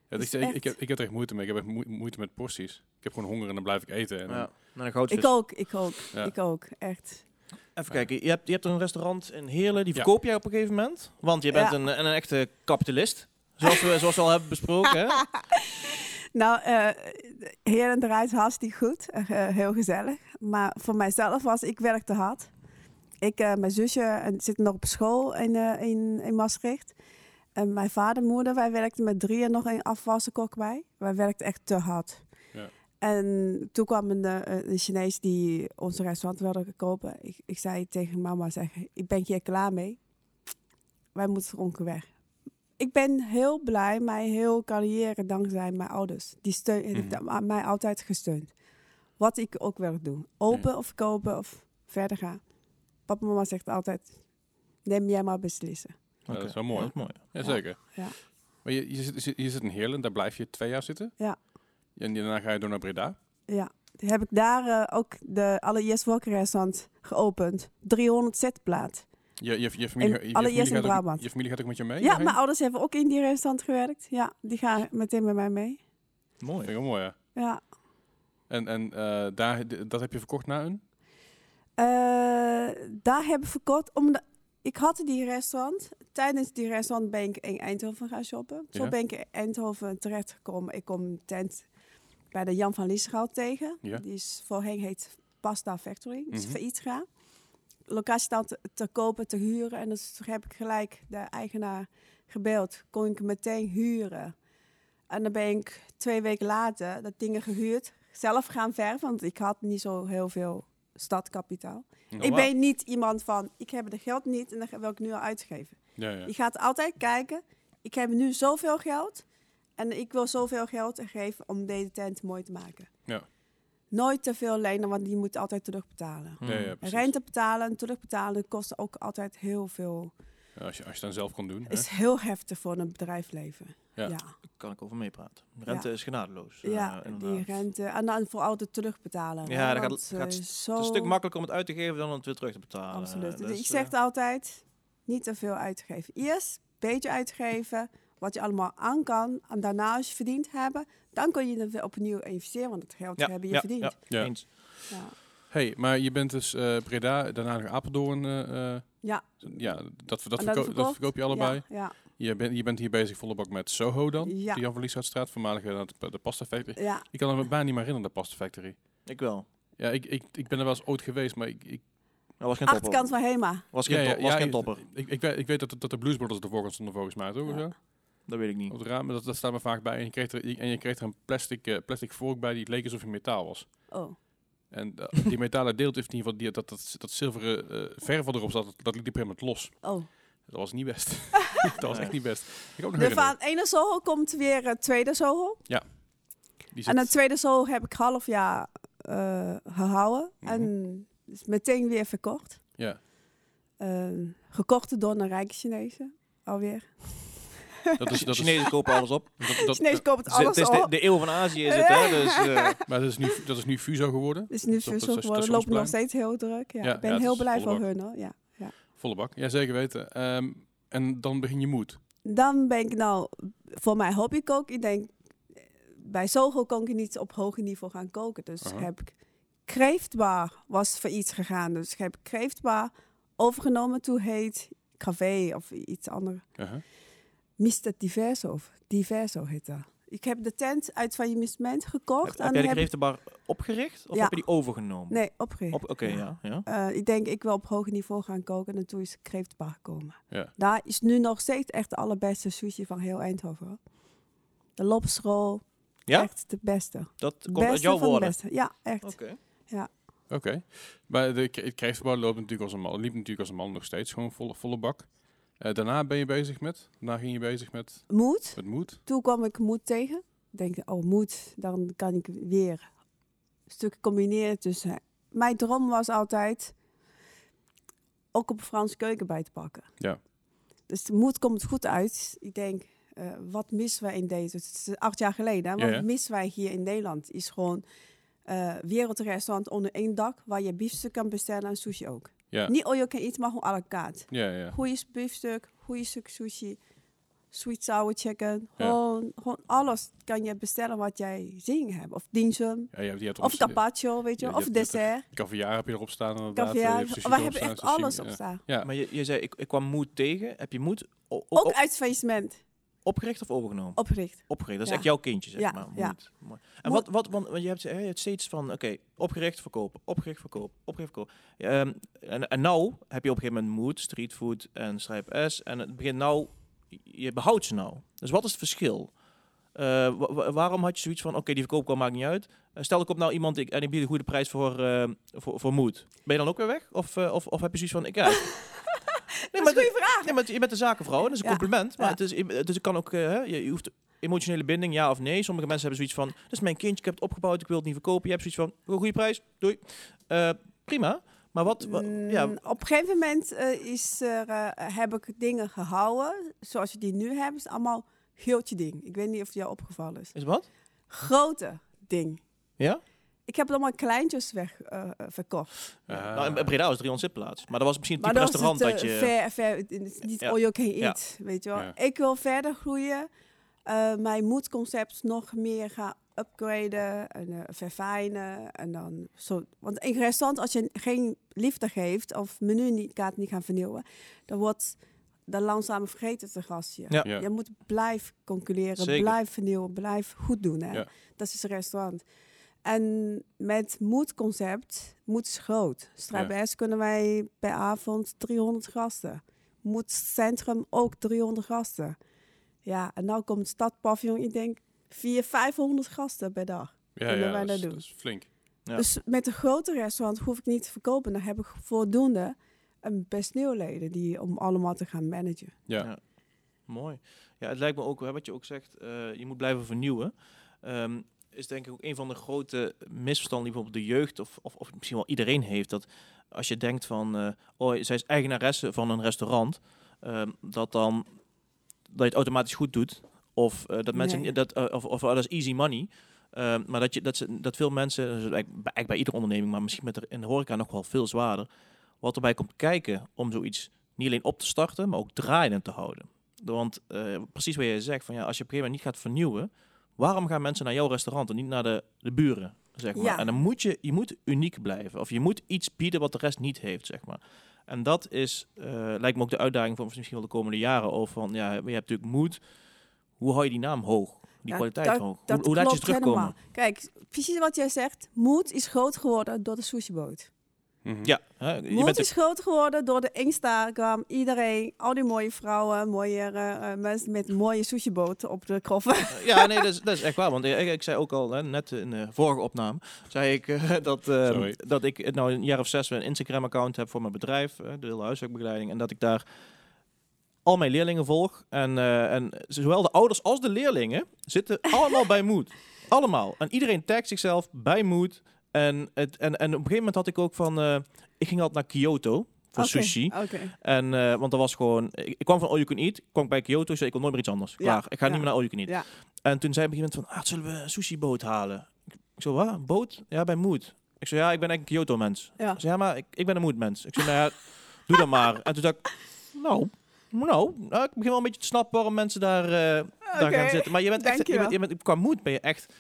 Speaker 2: dat
Speaker 1: Is
Speaker 2: is- ik, ik,
Speaker 1: echt.
Speaker 2: heb, ik heb er echt moeite mee. Ik heb echt moe- moite met porties. Ik heb gewoon honger en dan blijf ik eten. En dan-
Speaker 3: Ja, Nou, naar een goudvis.
Speaker 1: Ik ook, ik ook,
Speaker 2: Ja.
Speaker 1: ik ook, echt.
Speaker 3: Even kijken, je hebt, je hebt een restaurant in Heerlen, die
Speaker 2: Ja.
Speaker 3: verkoop jij op een gegeven moment. Want je bent
Speaker 1: Ja.
Speaker 3: een, een, een echte kapitalist, zoals we, zoals we al hebben besproken. Hè?
Speaker 1: Nou, eh Heren draait hartstikke goed, eh, heel gezellig. Maar voor mijzelf was, ik werkte hard. Ik, eh, mijn zusje en zit nog op school in, eh, in, in Maastricht. En mijn vader en moeder, wij werkten met drieën nog een afwassenkok bij. Wij werkten echt te hard.
Speaker 2: Ja.
Speaker 1: En toen kwam een, eh, een Chinees die ons restaurant wilde kopen. Ik, ik zei tegen mama, zeg, ik ben hier klaar mee. Wij moeten dronken weg. ik ben heel blij, mijn heel carrière dankzij mijn ouders. Die steun, die
Speaker 2: Mhm.
Speaker 1: hebben mij altijd gesteund. Wat ik ook wil doen. Open of kopen of verder gaan. Papa en mama zegt altijd, Neem jij maar beslissen.
Speaker 2: Ja, dat is wel
Speaker 3: Oké.
Speaker 2: mooi.
Speaker 3: Ja, dat is mooi.
Speaker 2: Ja, zeker.
Speaker 1: Ja.
Speaker 2: Maar je, je, zit, je zit in Heerlen, daar blijf je twee jaar zitten.
Speaker 1: Ja.
Speaker 2: En daarna ga je door naar Breda.
Speaker 1: Ja, heb ik daar eh, ook de alle Yes Walker restaurant geopend. 300 zetplaat.
Speaker 2: Je, je, je familie,
Speaker 1: En
Speaker 2: je- je,
Speaker 1: alle
Speaker 2: familie
Speaker 1: Jess in
Speaker 2: gaat ook-
Speaker 1: Brabant.
Speaker 2: je familie gaat ook met je mee?
Speaker 1: Ja,
Speaker 2: daarheen?
Speaker 1: mijn ouders hebben ook in die restaurant gewerkt. Ja, die gaan meteen met mij mee.
Speaker 2: Vind
Speaker 3: Mooi.
Speaker 2: ik wel mooi, ja.
Speaker 1: Ja.
Speaker 2: En, en eh, daar, d- dat heb je verkocht na een?
Speaker 1: Eh, daar heb ik verkort. Omdat ik had die restaurant. Tijdens die restaurant ben ik in Eindhoven gaan shoppen. Zo
Speaker 2: Ja.
Speaker 1: ben ik in Eindhoven terechtgekomen. Ik kom een tent bij de Jan van Liesgaard tegen.
Speaker 2: Ja.
Speaker 1: Die is voorheen heet Pasta Factory. Dat is
Speaker 2: Mhm.
Speaker 1: failliet gegaan. Locatie staat te, te kopen, te huren. En dus heb ik gelijk de eigenaar gebeld. Kon ik meteen huren. En dan ben ik twee weken later dat dingen gehuurd. Zelf gaan verven, want ik had niet zo heel veel
Speaker 2: Oh,
Speaker 1: stadkapitaal. ik
Speaker 3: wauw.
Speaker 1: ben niet iemand van, ik heb het geld niet en dan wil ik nu al uitgeven.
Speaker 2: Ja, ja.
Speaker 1: Je gaat altijd kijken, ik heb nu zoveel geld en ik wil zoveel geld geven om deze tent mooi te maken.
Speaker 2: Ja.
Speaker 1: Nooit te veel lenen, want die moet altijd terugbetalen.
Speaker 2: Ja, ja, Hm, precies.
Speaker 1: Rente betalen en terugbetalen kost ook altijd heel veel.
Speaker 2: Ja, als, je, als je dan zelf kon doen. hè?
Speaker 1: Is heel heftig voor een bedrijfsleven.
Speaker 2: Ja.
Speaker 1: ja.
Speaker 3: Daar kan ik over meepraten. Rente is genadeloos. eh,
Speaker 1: Ja, die
Speaker 3: inderdaad.
Speaker 1: rente. En dan vooral de terugbetalen.
Speaker 3: Ja,
Speaker 1: hè,
Speaker 3: dat gaat-
Speaker 1: want,
Speaker 3: gaat
Speaker 1: eh,
Speaker 3: st-
Speaker 1: zo...
Speaker 3: Het is een stuk makkelijker om het uit te geven dan om het weer terug te betalen.
Speaker 1: Absoluut.
Speaker 3: Eh,
Speaker 1: Dus,
Speaker 3: dus,
Speaker 1: ik
Speaker 3: eh,
Speaker 1: zeg altijd, niet te veel uitgeven. Eerst een beetje uitgeven, wat je allemaal aan kan. En daarna als je verdiend hebben, dan kun je er weer opnieuw investeren. Want het geld
Speaker 3: ja,
Speaker 1: hebben je
Speaker 3: ja,
Speaker 1: verdiend.
Speaker 3: Ja,
Speaker 1: Ja.
Speaker 2: Ja.
Speaker 3: eens.
Speaker 2: hey, maar je bent dus eh, Breda, daarna nog Apeldoorn. eh, eh,
Speaker 1: Ja.
Speaker 2: ja, dat, dat,
Speaker 1: En dan
Speaker 2: verko- dat
Speaker 1: verkocht?
Speaker 2: verkoop je allebei.
Speaker 1: Ja,
Speaker 2: Je, bent je bent hier bezig volle bak met Soho dan.
Speaker 1: Ja.
Speaker 2: De Jan van Lieshoutstraat, voormalig eh, de, de Pasta Factory.
Speaker 1: ja, ja.
Speaker 2: Ik kan me bijna niet meer herinneren, de Pasta Factory.
Speaker 3: Ik wel.
Speaker 2: Ja, ik, ik, ik ben er wel eens ooit geweest, maar ik... ik
Speaker 3: Dat was geen topper.
Speaker 1: Achterkant van HEMA.
Speaker 3: Was geen, top- was geen topper.
Speaker 2: Ik, ik, weet, ik weet dat, dat de Blues Brothers ervoor gaan stonden volgens mij, toch?
Speaker 1: Ja.
Speaker 2: Of zo?
Speaker 3: Dat weet ik niet.
Speaker 2: Op het raam, maar dat, dat staat me vaak bij. En je kreeg er, en je kreeg er een plastic, eh, plastic vork bij die het leek alsof je metaal was.
Speaker 1: Oh,
Speaker 2: En eh, die metalen deelt heeft in ieder geval die, dat, dat, dat zilveren eh verf wat erop zat, dat, dat liep op een gegeven moment los.
Speaker 1: oh.
Speaker 2: Dat was niet best. dat was echt niet best. Ik heb ook nog
Speaker 1: De
Speaker 2: herinneren.
Speaker 1: Dus van ene zool komt weer een tweede zool.
Speaker 2: Die
Speaker 1: En dat
Speaker 2: zit-
Speaker 1: tweede zool heb ik half jaar eh, gehouden.
Speaker 2: Mhm.
Speaker 1: En is meteen weer verkocht.
Speaker 2: ja,
Speaker 1: Eh, gekocht door een rijke Chinezen. Alweer.
Speaker 2: dat is, dat is,
Speaker 3: Chinezen kopen alles op.
Speaker 2: dat, dat,
Speaker 1: Chinezen koopt
Speaker 3: Ze- eh, Het
Speaker 1: alles
Speaker 3: is
Speaker 1: op.
Speaker 3: de, de eeuw van Azië is het, hè? Dus, eh,
Speaker 2: maar dat is, nu, dat is nu Fuso geworden.
Speaker 1: Dus nu
Speaker 2: dat- dat-
Speaker 1: verzocht
Speaker 2: dat-
Speaker 1: worden,
Speaker 2: dat- dat-
Speaker 1: loopt nog steeds heel druk. Ja.
Speaker 2: Ja,
Speaker 1: ik ben
Speaker 2: ja, het
Speaker 1: heel
Speaker 2: is
Speaker 1: blij voor
Speaker 2: volle
Speaker 1: hun. Hoor. Ja.
Speaker 2: Volle bak. Ja, zeker weten. Ehm, en dan begin je moed.
Speaker 1: Dan ben ik nou, voor mijn hobby koken, ik denk, eh, bij Sogo kon ik niet op hoger niveau gaan koken. Dus
Speaker 2: Aha.
Speaker 1: heb ik kreeftbar was voor iets gegaan. Dus ik heb kreeftbar overgenomen, toen heet café of iets anders.
Speaker 2: Uh-huh.
Speaker 1: Mr. Diverso, of Diverso heet dat. Ik heb de tent uit faillissement gekocht.
Speaker 3: heb, heb
Speaker 1: en
Speaker 3: jij de
Speaker 1: heb ik-
Speaker 3: kreeftenbar opgericht? Of
Speaker 1: Ja.
Speaker 3: heb je die overgenomen?
Speaker 1: Nee, opgericht.
Speaker 3: Op- Oké, ja. ja.
Speaker 1: Eh, ik denk, ik wil op hoger niveau gaan koken. En toen is kreeftbar gekomen.
Speaker 2: Ja.
Speaker 1: Daar is nu nog steeds echt de allerbeste sushi van heel Eindhoven. hoor. De lobstrol,
Speaker 3: Ja?
Speaker 1: echt de beste.
Speaker 3: Dat komt
Speaker 1: beste
Speaker 3: uit jouw
Speaker 1: van de
Speaker 3: woorden.
Speaker 1: beste. Ja, echt.
Speaker 3: Oké.
Speaker 2: Oké. Maar de k- het kreeftgebouw loopt natuurlijk als een man, liep natuurlijk als een man nog steeds. Gewoon volle, volle bak. Eh, daarna ben je bezig met, daarna ging je bezig met,
Speaker 1: Moed.
Speaker 2: met moed.
Speaker 1: Toen kwam ik moed tegen. Ik denk, oh moed, dan kan ik weer een stuk combineren tussen... Mijn droom was altijd ook op Frans keuken bij te pakken.
Speaker 2: Ja.
Speaker 1: Dus de moed komt goed uit. Ik denk, eh, wat missen wij in deze... Het is acht jaar geleden. Hè? Wat
Speaker 2: Ja, ja.
Speaker 1: missen wij hier in Nederland? Is gewoon eh, wereldrestaurant onder één dak... waar je biefstuk kan bestellen en sushi ook.
Speaker 2: Ja,
Speaker 1: Niet all you can eat, maar gewoon à la carte.
Speaker 2: ja, ja.
Speaker 1: Goeie biefstuk, goeie stuk sushi, sweet sour chicken.
Speaker 2: Ja.
Speaker 1: Gewoon, gewoon alles kan je bestellen wat jij zin hebt. Of dimsum,
Speaker 2: ja je hebt, je hebt
Speaker 1: of
Speaker 2: ons-
Speaker 1: carpaccio, weet je,
Speaker 2: Ja, je
Speaker 1: of
Speaker 2: hebt- je hebt
Speaker 1: dessert.
Speaker 2: Caviar heb je erop staan inderdaad.
Speaker 1: Caviar. We hebben echt alles op
Speaker 2: opstaan.
Speaker 1: staan.
Speaker 2: Ja.
Speaker 3: Maar je, je zei, ik, ik kwam moed tegen. Heb je moed o- o-
Speaker 1: Ook
Speaker 3: o-
Speaker 1: uit faillissement
Speaker 3: opgericht of overgenomen?
Speaker 1: opgericht.
Speaker 3: Opgericht, dat is
Speaker 1: Ja.
Speaker 3: echt jouw kindje, zeg
Speaker 1: Ja,
Speaker 3: maar.
Speaker 1: ja.
Speaker 3: Moed. Mooi. En
Speaker 1: Moed.
Speaker 3: wat, wat want, want je hebt, je hebt steeds van, oké, opgericht verkopen, opgericht verkopen, opgericht verkopen. Ehm, en, en nou heb je op een gegeven moment moed, streetfood en strijp S. En het begint nou, je behoudt ze nou. Dus wat is het verschil? Eh, wa- wa- waarom had je zoiets van, oké, die verkoopkwal maakt niet uit. Eh, stel, ik op nou iemand ik, en ik bied een goede prijs voor, eh, voor, voor moed. Ben je dan ook weer weg? Of, eh, of, of heb je zoiets van, ik ja,
Speaker 1: dat is
Speaker 3: maar
Speaker 1: een goede vraag.
Speaker 3: Nee, maar het- je bent een zakenvrouw, en dat is een
Speaker 1: Ja.
Speaker 3: compliment. Maar
Speaker 1: Ja.
Speaker 3: het is, dus het kan ook, eh, hè, je, je hoeft emotionele binding, ja of nee. Sommige mensen hebben zoiets van, dat is mijn kindje, ik heb het opgebouwd, ik wil het niet verkopen. Je hebt zoiets van, goede prijs, doei. Eh, prima. Maar Maar wat, wa- ja,
Speaker 1: Mm, Op een gegeven moment eh, is er, eh, heb ik dingen gehouden. Zoals je die nu hebt, is allemaal geeltje ding. Ik weet niet of het jou opgevallen is.
Speaker 3: is wat?
Speaker 1: Grote ding.
Speaker 3: Ja?
Speaker 1: Ik heb het allemaal kleintjes weg, eh, eh, verkocht.
Speaker 2: Ah.
Speaker 3: Nou, in in Breda was 300 zitplaats. Maar dat was misschien het
Speaker 1: Maar
Speaker 3: type
Speaker 1: dan is
Speaker 3: restaurant
Speaker 1: het
Speaker 3: dat
Speaker 1: eh,
Speaker 3: je...
Speaker 1: ver, ver, het is niet
Speaker 3: Ja.
Speaker 1: all you can
Speaker 3: Ja.
Speaker 1: eat, weet je wel.
Speaker 2: Ja.
Speaker 1: Ik wil verder groeien. eh, mijn moedconcept nog meer gaan upgraden en eh, verfijnen. En dan zo. Want in een restaurant, als je geen liefde geeft of menukaart niet gaan vernieuwen, dan wordt dan langzaam vergeten te gastje.
Speaker 3: Ja.
Speaker 2: Ja.
Speaker 1: Je moet blijven concurreren,
Speaker 3: Zeker.
Speaker 1: blijven vernieuwen, blijven goed doen. Hè?
Speaker 2: Ja.
Speaker 1: Dat is een restaurant. En met moedconcept, moed is groot. Strijbijs kunnen wij per avond 300 gasten. Moed Centrum ook 300 gasten. Ja, en nou komt Stadpavillon, ik denk 400, 500 gasten per dag.
Speaker 2: ja,
Speaker 1: kunnen
Speaker 2: ja,
Speaker 1: wij
Speaker 2: dat, is,
Speaker 1: dat doen.
Speaker 2: dat is flink.
Speaker 3: Ja.
Speaker 1: Dus met een grote restaurant hoef ik niet te verkopen. Dan heb ik voldoende een best nieuwleden die om allemaal te gaan managen.
Speaker 2: Ja.
Speaker 3: Ja. Mooi. Ja, het lijkt me ook, hè, wat je ook zegt, eh, je moet blijven vernieuwen. Ehm, is denk ik ook een van de grote misverstanden die bijvoorbeeld de jeugd of, of, of misschien wel iedereen heeft. Dat als je denkt van, eh, oh, zij is eigenaresse van een restaurant, ehm, dat dan dat je het automatisch goed doet. Of eh, dat mensen,
Speaker 1: Nee.
Speaker 3: niet- dat, eh, of, of oh, dat is easy money. Ehm, maar dat, je, dat, ze, dat veel mensen, dat is eigenlijk bij, eigenlijk bij iedere onderneming, maar misschien met de, in de horeca nog wel veel zwaarder, wat erbij komt kijken om zoiets niet alleen op te starten, maar ook draaiend te houden. Want eh, precies wat jij zegt, van, ja, als je op een gegeven moment niet gaat vernieuwen, waarom gaan mensen naar jouw restaurant en niet naar de, de buren? Zeg maar?
Speaker 1: Ja.
Speaker 3: En dan moet je, je moet uniek blijven. Of je moet iets bieden wat de rest niet heeft, zeg maar. En dat is, eh, lijkt me ook de uitdaging van misschien wel de komende jaren. Of van, ja, je hebt natuurlijk moed. Hoe hou je die naam hoog? Die
Speaker 1: Ja,
Speaker 3: kwaliteit
Speaker 1: dat-
Speaker 3: hoog?
Speaker 1: dat
Speaker 3: hoe hoe laat je ze
Speaker 1: klopt
Speaker 3: terugkomen?
Speaker 1: helemaal. Kijk, precies wat jij zegt. Moed is groot geworden door de sushiboot.
Speaker 2: Mhm.
Speaker 3: Ja, hè, je
Speaker 1: Moed
Speaker 3: bent
Speaker 1: is groot geworden door de Instagram. Iedereen, al die mooie vrouwen, mooie eh, eh, mensen met mooie sushiboten op de kroffen.
Speaker 3: Ja, nee, dat is, dat is echt waar. Want ik, ik zei ook al, hè, net in de vorige opname, zei ik eh, dat, eh,
Speaker 2: Sorry.
Speaker 3: dat ik eh, nou een jaar of zes een Instagram-account heb voor mijn bedrijf, eh, de hele huiswerkbegeleiding. En dat ik daar al mijn leerlingen volg. En, eh, en zowel de ouders als de leerlingen zitten allemaal bij Moed. Allemaal. En iedereen tagt zichzelf bij Moed. En, het, en, en op een gegeven moment had ik ook van, eh, ik ging altijd naar Kyoto voor
Speaker 1: Oké,
Speaker 3: sushi.
Speaker 1: Oké.
Speaker 3: En, eh, want dat was gewoon... Ik, ik kwam van All You Can Eat, kwam ik bij Kyoto, zei ik wil nooit meer iets anders.
Speaker 1: Ja,
Speaker 3: Klaar, ik ga
Speaker 1: ja.
Speaker 3: niet meer naar All You Can Eat.
Speaker 1: Ja.
Speaker 3: En toen zei op een gegeven moment van, ah, zullen we een sushiboot halen? Ik zo, wat? Een boot? Ja, bij Moed. Ik zei, ja, ik ben eigenlijk een Kyoto-mens.
Speaker 1: Ja.
Speaker 3: Ze zei, ja, maar ik, ik ben een Moed-mens. Ik zei, nou ja, doe dat maar. En toen dacht ik, nou, nou, nou, ik begin wel een beetje te snappen waarom mensen daar, eh, daar
Speaker 1: Oké,
Speaker 3: gaan zitten. Maar je bent echt, je
Speaker 1: dankjewel.
Speaker 3: bent, je bent, qua Moed ben je echt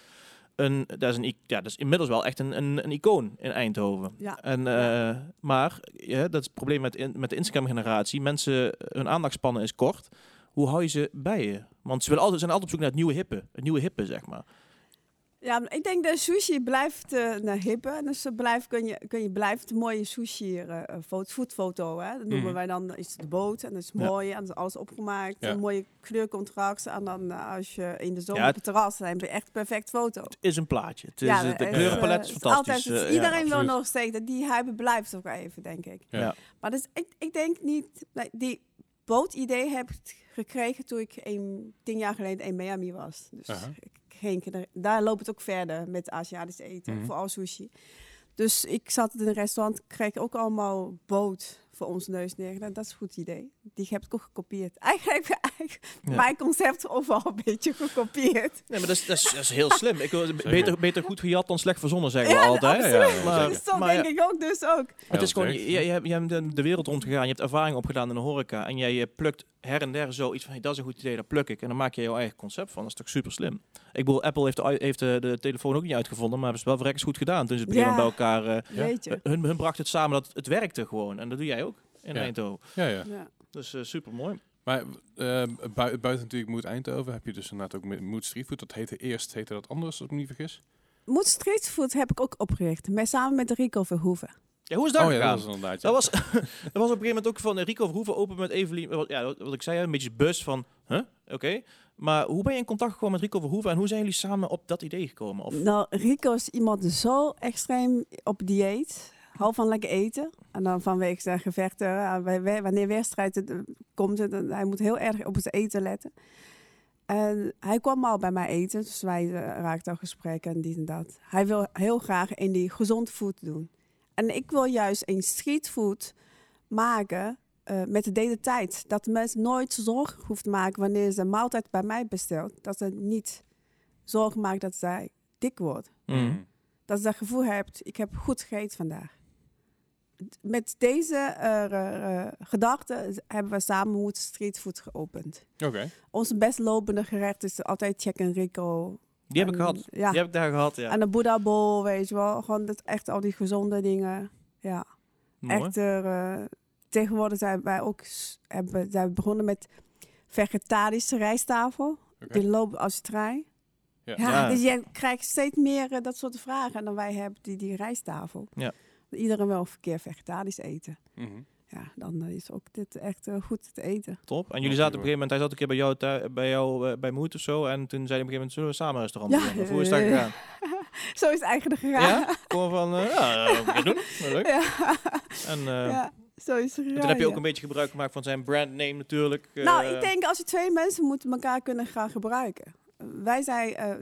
Speaker 3: een, dat is, een, i- ja, dat is inmiddels wel echt een, een, een icoon in Eindhoven.
Speaker 1: Ja.
Speaker 3: En, eh, Maar ja, dat is het probleem met, in- met de Instagram-generatie. Mensen, hun aandachtspannen is kort. Hoe hou je ze bij je? Want ze willen altijd, zijn altijd op zoek naar het nieuwe hippe. Het nieuwe hippe, zeg maar.
Speaker 1: Ja, maar ik denk dat sushi blijft eh naar hippen. Dus ze blijft, kun je, kun je blijft mooie sushi, eh eh, fo- foodfoto, hè? dat noemen
Speaker 2: Mhm.
Speaker 1: wij dan, is de boot en dat is
Speaker 3: Mm. Ja.
Speaker 1: mooi en dat is alles opgemaakt.
Speaker 2: Ja.
Speaker 1: Een mooie kleurcontract en dan eh, als je in de zomer
Speaker 3: Ja,
Speaker 1: op het terras dan heb je echt perfect foto.
Speaker 3: Het is een plaatje. Het is,
Speaker 1: Ja,
Speaker 3: het-
Speaker 1: dat
Speaker 3: de
Speaker 1: is,
Speaker 3: kleurenpalet
Speaker 1: eh,
Speaker 3: is
Speaker 1: het
Speaker 3: fantastisch.
Speaker 1: altijd- het is
Speaker 3: eh, ja,
Speaker 1: iedereen wil
Speaker 2: absoluut.
Speaker 1: nog steeds dat die hype blijft ook even, denk ik.
Speaker 2: Ja.
Speaker 3: Ja.
Speaker 1: Maar dus, ik, ik denk niet... nee, Die bootidee heb ik gekregen toen ik een, tien jaar geleden in Miami was. Dus
Speaker 2: Aha.
Speaker 1: ik ging er- daar loopt het ook verder met Aziatisch eten,
Speaker 2: Mhm.
Speaker 1: vooral sushi. Dus ik zat in een restaurant, kreeg ook allemaal boot voor ons neus neer. Nou, dat is een goed idee. Die heb ik ook gekopieerd. Eigenlijk heb ik eigenlijk
Speaker 3: Ja.
Speaker 1: mijn concept overal een beetje gekopieerd.
Speaker 3: Nee, maar dat is, dat is, dat is heel slim. Ik, wil- beter, beter goed gejat dan slecht verzonnen, zeggen we
Speaker 1: Ja,
Speaker 3: altijd.
Speaker 2: absoluut. Ja, ja, ja,
Speaker 3: Maar,
Speaker 2: zeker.
Speaker 1: dus dat
Speaker 3: maar ja,
Speaker 1: denk ik ook dus ook.
Speaker 3: het is
Speaker 2: Ja,
Speaker 3: gewoon,
Speaker 2: dat
Speaker 3: je,
Speaker 2: werkt.
Speaker 3: je, hebt- je hebt de- de wereld rondgegaan, je hebt ervaring opgedaan in de horeca. En jij eh, plukt her en der zoiets van, hey, dat is een goed idee, dat pluk ik. En dan maak je jouw eigen concept van. Dat is toch super slim. Ik bedoel, Apple heeft de, i- heeft de, de telefoon ook niet uitgevonden, maar hebben ze wel verrekkers goed gedaan. Toen ze het begin
Speaker 1: Ja.
Speaker 3: bij elkaar... eh,
Speaker 2: Ja.
Speaker 1: Weet je.
Speaker 3: hun, hun bracht het samen, dat het werkte gewoon. En dat doe jij ook in
Speaker 2: Ja.
Speaker 3: Eindhoven.
Speaker 2: Ja, ja.
Speaker 1: Ja.
Speaker 3: Dus super mooi.
Speaker 2: Maar eh, bui- buiten natuurlijk Moed Eindhoven heb je dus inderdaad ook Mo- Moed Streetfood. Dat heette eerst, heette dat anders, als ik me niet vergis.
Speaker 1: Moed Streetfood heb ik ook opgericht. Met, samen met Rico Verhoeven.
Speaker 3: Ja, hoe is dat
Speaker 2: oh ja,
Speaker 3: gegaan?
Speaker 2: dat was inderdaad. ja.
Speaker 3: Dat was, dat was op een gegeven moment ook van eh, Rico Verhoeven open met Evelien. Wat, ja, wat ik zei, een beetje bus van, huh? oké. Maar hoe ben je in contact gekomen met Rico Verhoeven en hoe zijn jullie samen op dat idee gekomen? Of,
Speaker 1: Nou, Rico is iemand die zo extreem op dieet. Hou van lekker eten. En dan vanwege zijn gevechten, eh, bij we- wanneer wedstrijd het, eh, komt, het, en hij moet heel erg op het eten letten. En hij kwam al bij mij eten, dus wij eh, raakten al gesprekken en dit en dat. Hij wil heel graag in die gezond voet doen. En ik wil juist een streetfood maken eh, met de hele tijd. Dat de mens nooit zorg hoeft te maken wanneer ze een maaltijd bij mij bestelt. Dat ze niet zorg maakt dat zij dik wordt.
Speaker 2: Mhm.
Speaker 3: Mm.
Speaker 1: Dat ze dat gevoel hebt, ik heb goed gegeten vandaag. D- Met deze eh, eh, gedachte hebben we samen Moed Streetfood geopend.
Speaker 2: Oké.
Speaker 1: Ons best lopende gerecht is altijd Check en Rico.
Speaker 3: Die heb ik
Speaker 1: En-
Speaker 3: gehad.
Speaker 1: ehm, Ja. Ehm,
Speaker 3: Die heb ik daar gehad, ja.
Speaker 1: En de Buddha Bowl, weet je wel. Gewoon dat, echt al die gezonde dingen. Ja.
Speaker 3: Mooi.
Speaker 1: Echter, eh, tegenwoordig zijn wij ook s- hebben, zijn we begonnen met vegetarische rijsttafel.
Speaker 2: Oké.
Speaker 1: Die loopt als trein.
Speaker 2: Ja.
Speaker 1: Ja,
Speaker 3: Ja.
Speaker 1: Dus je krijgt steeds meer eh, dat soort vragen dan wij hebben die, die rijsttafel.
Speaker 3: Ja.
Speaker 1: Dat Iedereen wil een keer vegetarisch eten.
Speaker 2: Mhm.
Speaker 1: Ja, dan eh, is ook dit echt eh, goed te eten.
Speaker 3: Top. En jullie zaten op een gegeven moment, hij zat een keer bij jou, thui- bij, jou eh, bij Moed of zo. En toen zei hij op een gegeven moment, zullen we samen een restaurant
Speaker 1: Ja,
Speaker 3: beginnen? Of hoe is dat
Speaker 1: eh,
Speaker 3: gegaan?
Speaker 1: Zo is het eigenlijk
Speaker 3: Ja?
Speaker 1: gegaan.
Speaker 3: Gewoon van, eh, ja, eh, we gaan doen. Nou, Leuk.
Speaker 1: Ja.
Speaker 3: En eh,
Speaker 1: Ja, zo is het
Speaker 3: toen
Speaker 1: gegaan,
Speaker 3: heb je
Speaker 1: ja.
Speaker 3: ook een beetje gebruik gemaakt van zijn brandname natuurlijk. eh,
Speaker 1: Nou, ik denk als je twee mensen moeten elkaar kunnen gaan gebruiken. Wij zijn, eh,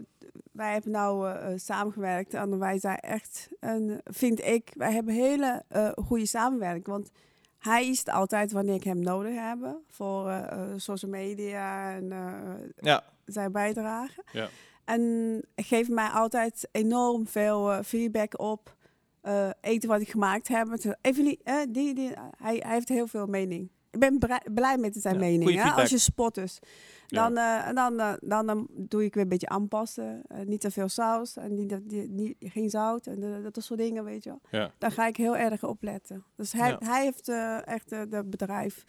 Speaker 1: wij hebben nou eh, eh, samengewerkt en wij zijn echt, een, vind ik, wij hebben hele eh, goede samenwerking. Want hij is het altijd wanneer ik hem nodig heb voor eh, eh, social media en eh,
Speaker 3: Ja,
Speaker 1: zijn bijdrage.
Speaker 2: Ja.
Speaker 1: En geeft mij altijd enorm veel eh, feedback op eh, eten wat ik gemaakt heb. Het- Evelie, eh, die, die, hij, hij heeft heel veel mening. Ik ben brei- blij met zijn
Speaker 3: Ja,
Speaker 1: mening.
Speaker 3: goeie
Speaker 1: Hè?
Speaker 3: feedback.
Speaker 1: Als je spot dus.
Speaker 2: Ja.
Speaker 1: Dan, eh, dan, eh, dan, eh, doe ik weer een beetje aanpassen. Eh, niet te veel saus. En niet, niet, niet- geen zout. En eh, dat soort dingen, weet je wel.
Speaker 2: Ja.
Speaker 1: Daar ga ik heel erg op letten. Dus hij,
Speaker 3: Ja.
Speaker 1: hij heeft eh, echt eh, dat bedrijf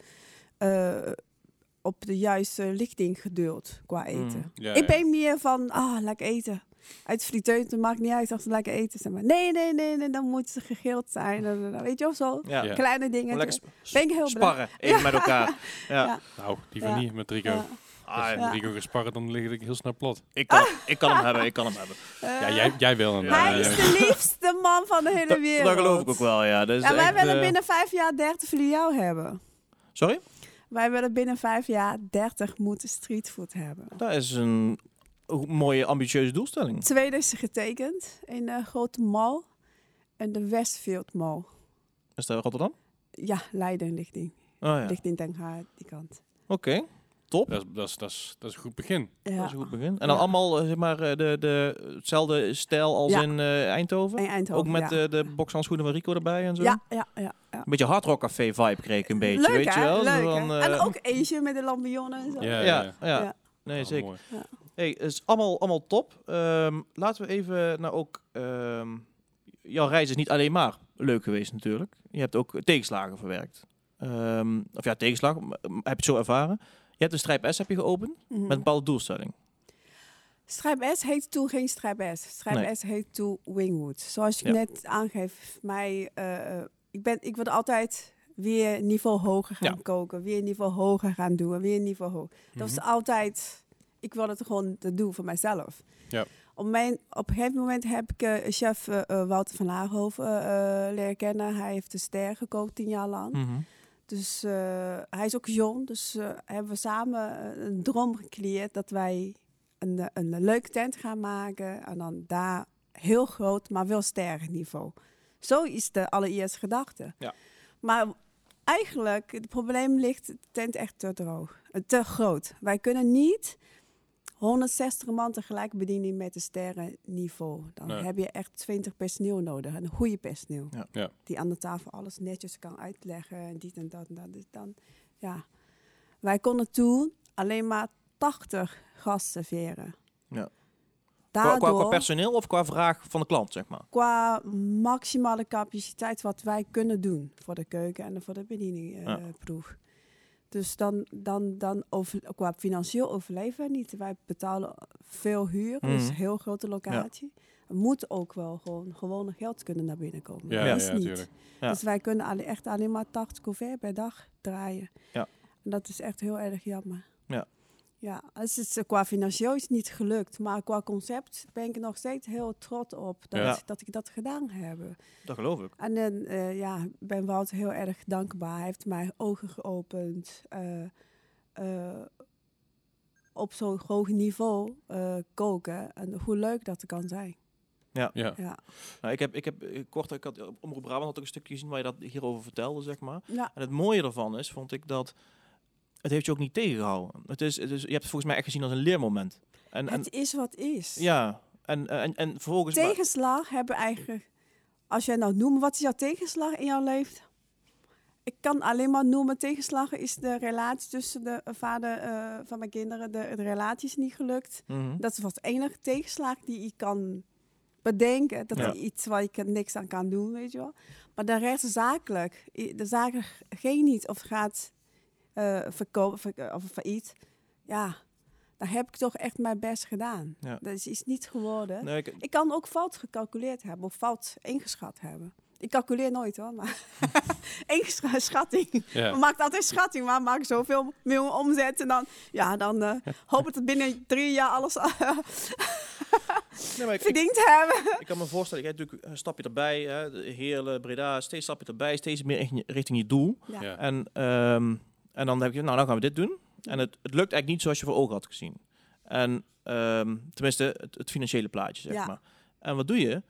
Speaker 1: eh, op de juiste lichting geduld qua eten.
Speaker 3: Mm.
Speaker 2: Ja,
Speaker 1: Ik
Speaker 2: ja.
Speaker 1: ben meer van, ah, lekker eten. Uit friteut, het maakt niet uit als ze lekker eten. Zeg maar. nee, nee, nee, nee, dan moet ze gegild zijn. En, en, en, Weet je wel, zo.
Speaker 3: ja.
Speaker 2: Ja.
Speaker 1: Kleine
Speaker 3: Gewoon
Speaker 1: dingen.
Speaker 3: Lekker
Speaker 1: Ben
Speaker 3: sp-
Speaker 1: ik heel blij.
Speaker 3: sparren, even met elkaar. Ja.
Speaker 1: Ja.
Speaker 2: Nou, die
Speaker 1: Ja.
Speaker 2: van niet met Rico.
Speaker 1: Ja.
Speaker 3: Ah,
Speaker 2: Als
Speaker 1: Ja.
Speaker 2: Rico gesparren, dan lig ik heel snel plat.
Speaker 3: ik, kan, ik kan hem hebben, ik kan hem hebben.
Speaker 1: Eh,
Speaker 2: Ja, jij, jij wil hem.
Speaker 3: Ja.
Speaker 1: Hij
Speaker 2: eh,
Speaker 1: is de liefste man van de hele
Speaker 3: Dat,
Speaker 1: wereld.
Speaker 3: dat geloof ik ook wel, ja. Dat is
Speaker 1: Ja, wij
Speaker 3: echt,
Speaker 1: willen
Speaker 3: eh,
Speaker 1: binnen vijf jaar 30 voor jou hebben.
Speaker 3: Sorry?
Speaker 1: Wij willen binnen vijf jaar 30 moeten streetfood hebben.
Speaker 3: Dat is een ho- mooie, ambitieuze doelstelling.
Speaker 1: Tweede is getekend in een grote mall. En de Westfield Mall.
Speaker 3: Is dat Rotterdam?
Speaker 1: Ja, Leiden ligt in.
Speaker 3: Oh ja, oké.
Speaker 1: Ligt in Den Haag, die kant.
Speaker 3: Top.
Speaker 2: Dat is, dat, is, dat, is, dat is een goed begin.
Speaker 3: Dat
Speaker 1: Ja.
Speaker 3: is een goed begin. En
Speaker 1: Ja.
Speaker 3: dan allemaal, eh, zeg maar, eh, de, de, hetzelfde stijl als
Speaker 1: Ja.
Speaker 3: in eh, Eindhoven?
Speaker 1: In Eindhoven,
Speaker 3: Ook met
Speaker 1: ja.
Speaker 3: eh, de bokshandschoenen van Rico erbij en zo?
Speaker 1: Ja, ja, ja. ja.
Speaker 3: Een beetje hardrock café vibe kreeg ik een beetje,
Speaker 1: leuk,
Speaker 3: weet
Speaker 1: hè?
Speaker 3: je wel? Zo
Speaker 1: Leuk, hè?
Speaker 3: van, eh,
Speaker 1: En ook Asian met de lampionnen en zo.
Speaker 2: Ja,
Speaker 3: Ja,
Speaker 2: ja.
Speaker 3: ja.
Speaker 1: Ja.
Speaker 3: Nee,
Speaker 2: Oh,
Speaker 3: zeker.
Speaker 2: mooi.
Speaker 3: Hey, het is allemaal, allemaal top. Ehm, laten we even naar ook... ehm, jouw reis is niet alleen maar leuk geweest natuurlijk. Je hebt ook tegenslagen verwerkt. Ehm, of ja, tegenslagen, maar, maar heb je het zo ervaren. Je hebt een strijp S heb je geopend
Speaker 1: Mhm.
Speaker 3: met een bepaalde doelstelling.
Speaker 1: Strijp S heet toen geen Strijp S. Strijp
Speaker 3: Nee.
Speaker 1: S heet toen Wingwood. Zoals ik
Speaker 3: Ja.
Speaker 1: net aangeef, mij, eh, ik, ben, ik word altijd weer niveau hoger gaan
Speaker 3: Ja.
Speaker 1: koken. Weer niveau hoger gaan doen. Weer niveau hoger. Dat
Speaker 3: Mhm.
Speaker 1: was altijd, ik wilde het gewoon te doen voor mijzelf.
Speaker 2: Ja.
Speaker 1: Op, mijn, op een gegeven moment heb ik eh, chef eh, eh, Wouter van Laaghoven eh, eh, leren kennen. Hij heeft de ster gekookt tien jaar lang.
Speaker 3: Mhm.
Speaker 1: Dus eh, hij is ook jong, dus eh, hebben we samen eh, een droom gecreëerd dat wij een, eh, een leuke tent gaan maken. En dan daar heel groot, maar wel sterren niveau. Zo is de allereerste gedachte.
Speaker 3: Ja.
Speaker 1: Maar eigenlijk, het probleem ligt, de tent echt te droog, eh, te groot. Wij kunnen niet 160 man tegelijk bedienen met een sterrenniveau. Dan
Speaker 2: Nee.
Speaker 1: heb je echt 20 personeel nodig, een goede personeel
Speaker 2: Ja.
Speaker 1: die aan de tafel alles netjes kan uitleggen en dit en dat en dat. Dus dan, ja. Wij konden toen alleen maar 80 gasten serveren.
Speaker 3: Ja. Qua,
Speaker 1: Daardoor,
Speaker 3: qua, qua
Speaker 1: qua,
Speaker 3: personeel of qua vraag van de klant, zeg maar.
Speaker 1: maximale capaciteit wat wij kunnen doen voor de keuken en voor de
Speaker 3: Ja.
Speaker 1: bedieningproef. Dus dan, dan, dan over, qua financieel overleven we niet. Wij betalen veel huur, dus
Speaker 3: Mhm.
Speaker 1: een heel grote locatie. Er moet ook wel gewoon gewone geld kunnen naar binnen komen.
Speaker 2: Ja,
Speaker 1: Dat
Speaker 2: ja,
Speaker 1: is niet.
Speaker 2: tuurlijk.
Speaker 3: Ja.
Speaker 1: Dus wij kunnen alle, echt alleen maar 80 couvert per dag draaien.
Speaker 3: Ja.
Speaker 1: En dat is echt heel erg jammer.
Speaker 3: Ja.
Speaker 1: Ja, dus het, is, eh, qua financieel is het niet gelukt. Maar qua concept ben ik er nog steeds heel trots op dat,
Speaker 3: Ja.
Speaker 1: dat ik dat gedaan heb.
Speaker 3: Dat geloof ik.
Speaker 1: En dan, eh, ja, ik ben Wouter heel erg dankbaar. Hij heeft mijn ogen geopend. eh, eh, op zo'n hoog niveau eh, koken. En hoe leuk dat kan zijn.
Speaker 3: Ja.
Speaker 2: Ja.
Speaker 1: Ja.
Speaker 3: Nou, ik heb, ik heb eh, kort, ik had, op Omroep Brabant had ook een stukje gezien waar je dat hierover vertelde, zeg maar.
Speaker 1: Ja.
Speaker 3: En het mooie daarvan is, vond ik dat het heeft je ook niet tegengehouden. Het is, het is, je hebt het volgens mij echt gezien als een leermoment. En, en,
Speaker 1: Het is wat is.
Speaker 3: ja, en, eh, en, en vervolgens... Dus maar-
Speaker 1: Tegenslag hebben eigenlijk... Als jij nou noemt, wat is jouw tegenslag in jouw leven? Ik kan alleen maar noemen, tegenslag is de relatie tussen de eh, vader eh, van mijn kinderen. De, de relatie is niet gelukt.
Speaker 3: Mhm.
Speaker 1: Dat is wat enige tegenslag die je kan bedenken. Dat
Speaker 3: Ja.
Speaker 1: is iets waar je kan- niks aan kan doen, weet je wel. Maar de rest zakelijk. I- De zaken geen niet of gaat eh verkopen ver- eh, of failliet. Ja, daar heb ik toch echt mijn best gedaan.
Speaker 3: Ja.
Speaker 1: Dat is iets niet geworden.
Speaker 3: Nee, ik-
Speaker 1: Ik kan ook fout gecalculeerd hebben of fout ingeschat hebben. Ik calculeer nooit hoor, maar ingeschat schatting.
Speaker 2: Ja.
Speaker 1: We maakt altijd schatting, maar maak zoveel miljoen omzet en dan, ja, dan eh, hoop ik dat binnen drie jaar alles eh,
Speaker 3: nee, maar ik- ik-
Speaker 1: verdiend hebben.
Speaker 3: Ik kan me voorstellen, jij doet natuurlijk een stapje erbij, hè, de Heerlen, Breda, steeds stapje erbij, steeds meer in- richting je doel.
Speaker 1: Ja.
Speaker 2: Ja.
Speaker 3: En, ehm, en dan heb je, nou, dan gaan we dit doen. En het, het lukt eigenlijk niet zoals je voor ogen had gezien. En ehm, tenminste, het, het financiële plaatje, zeg
Speaker 1: Ja.
Speaker 3: maar. En wat doe je?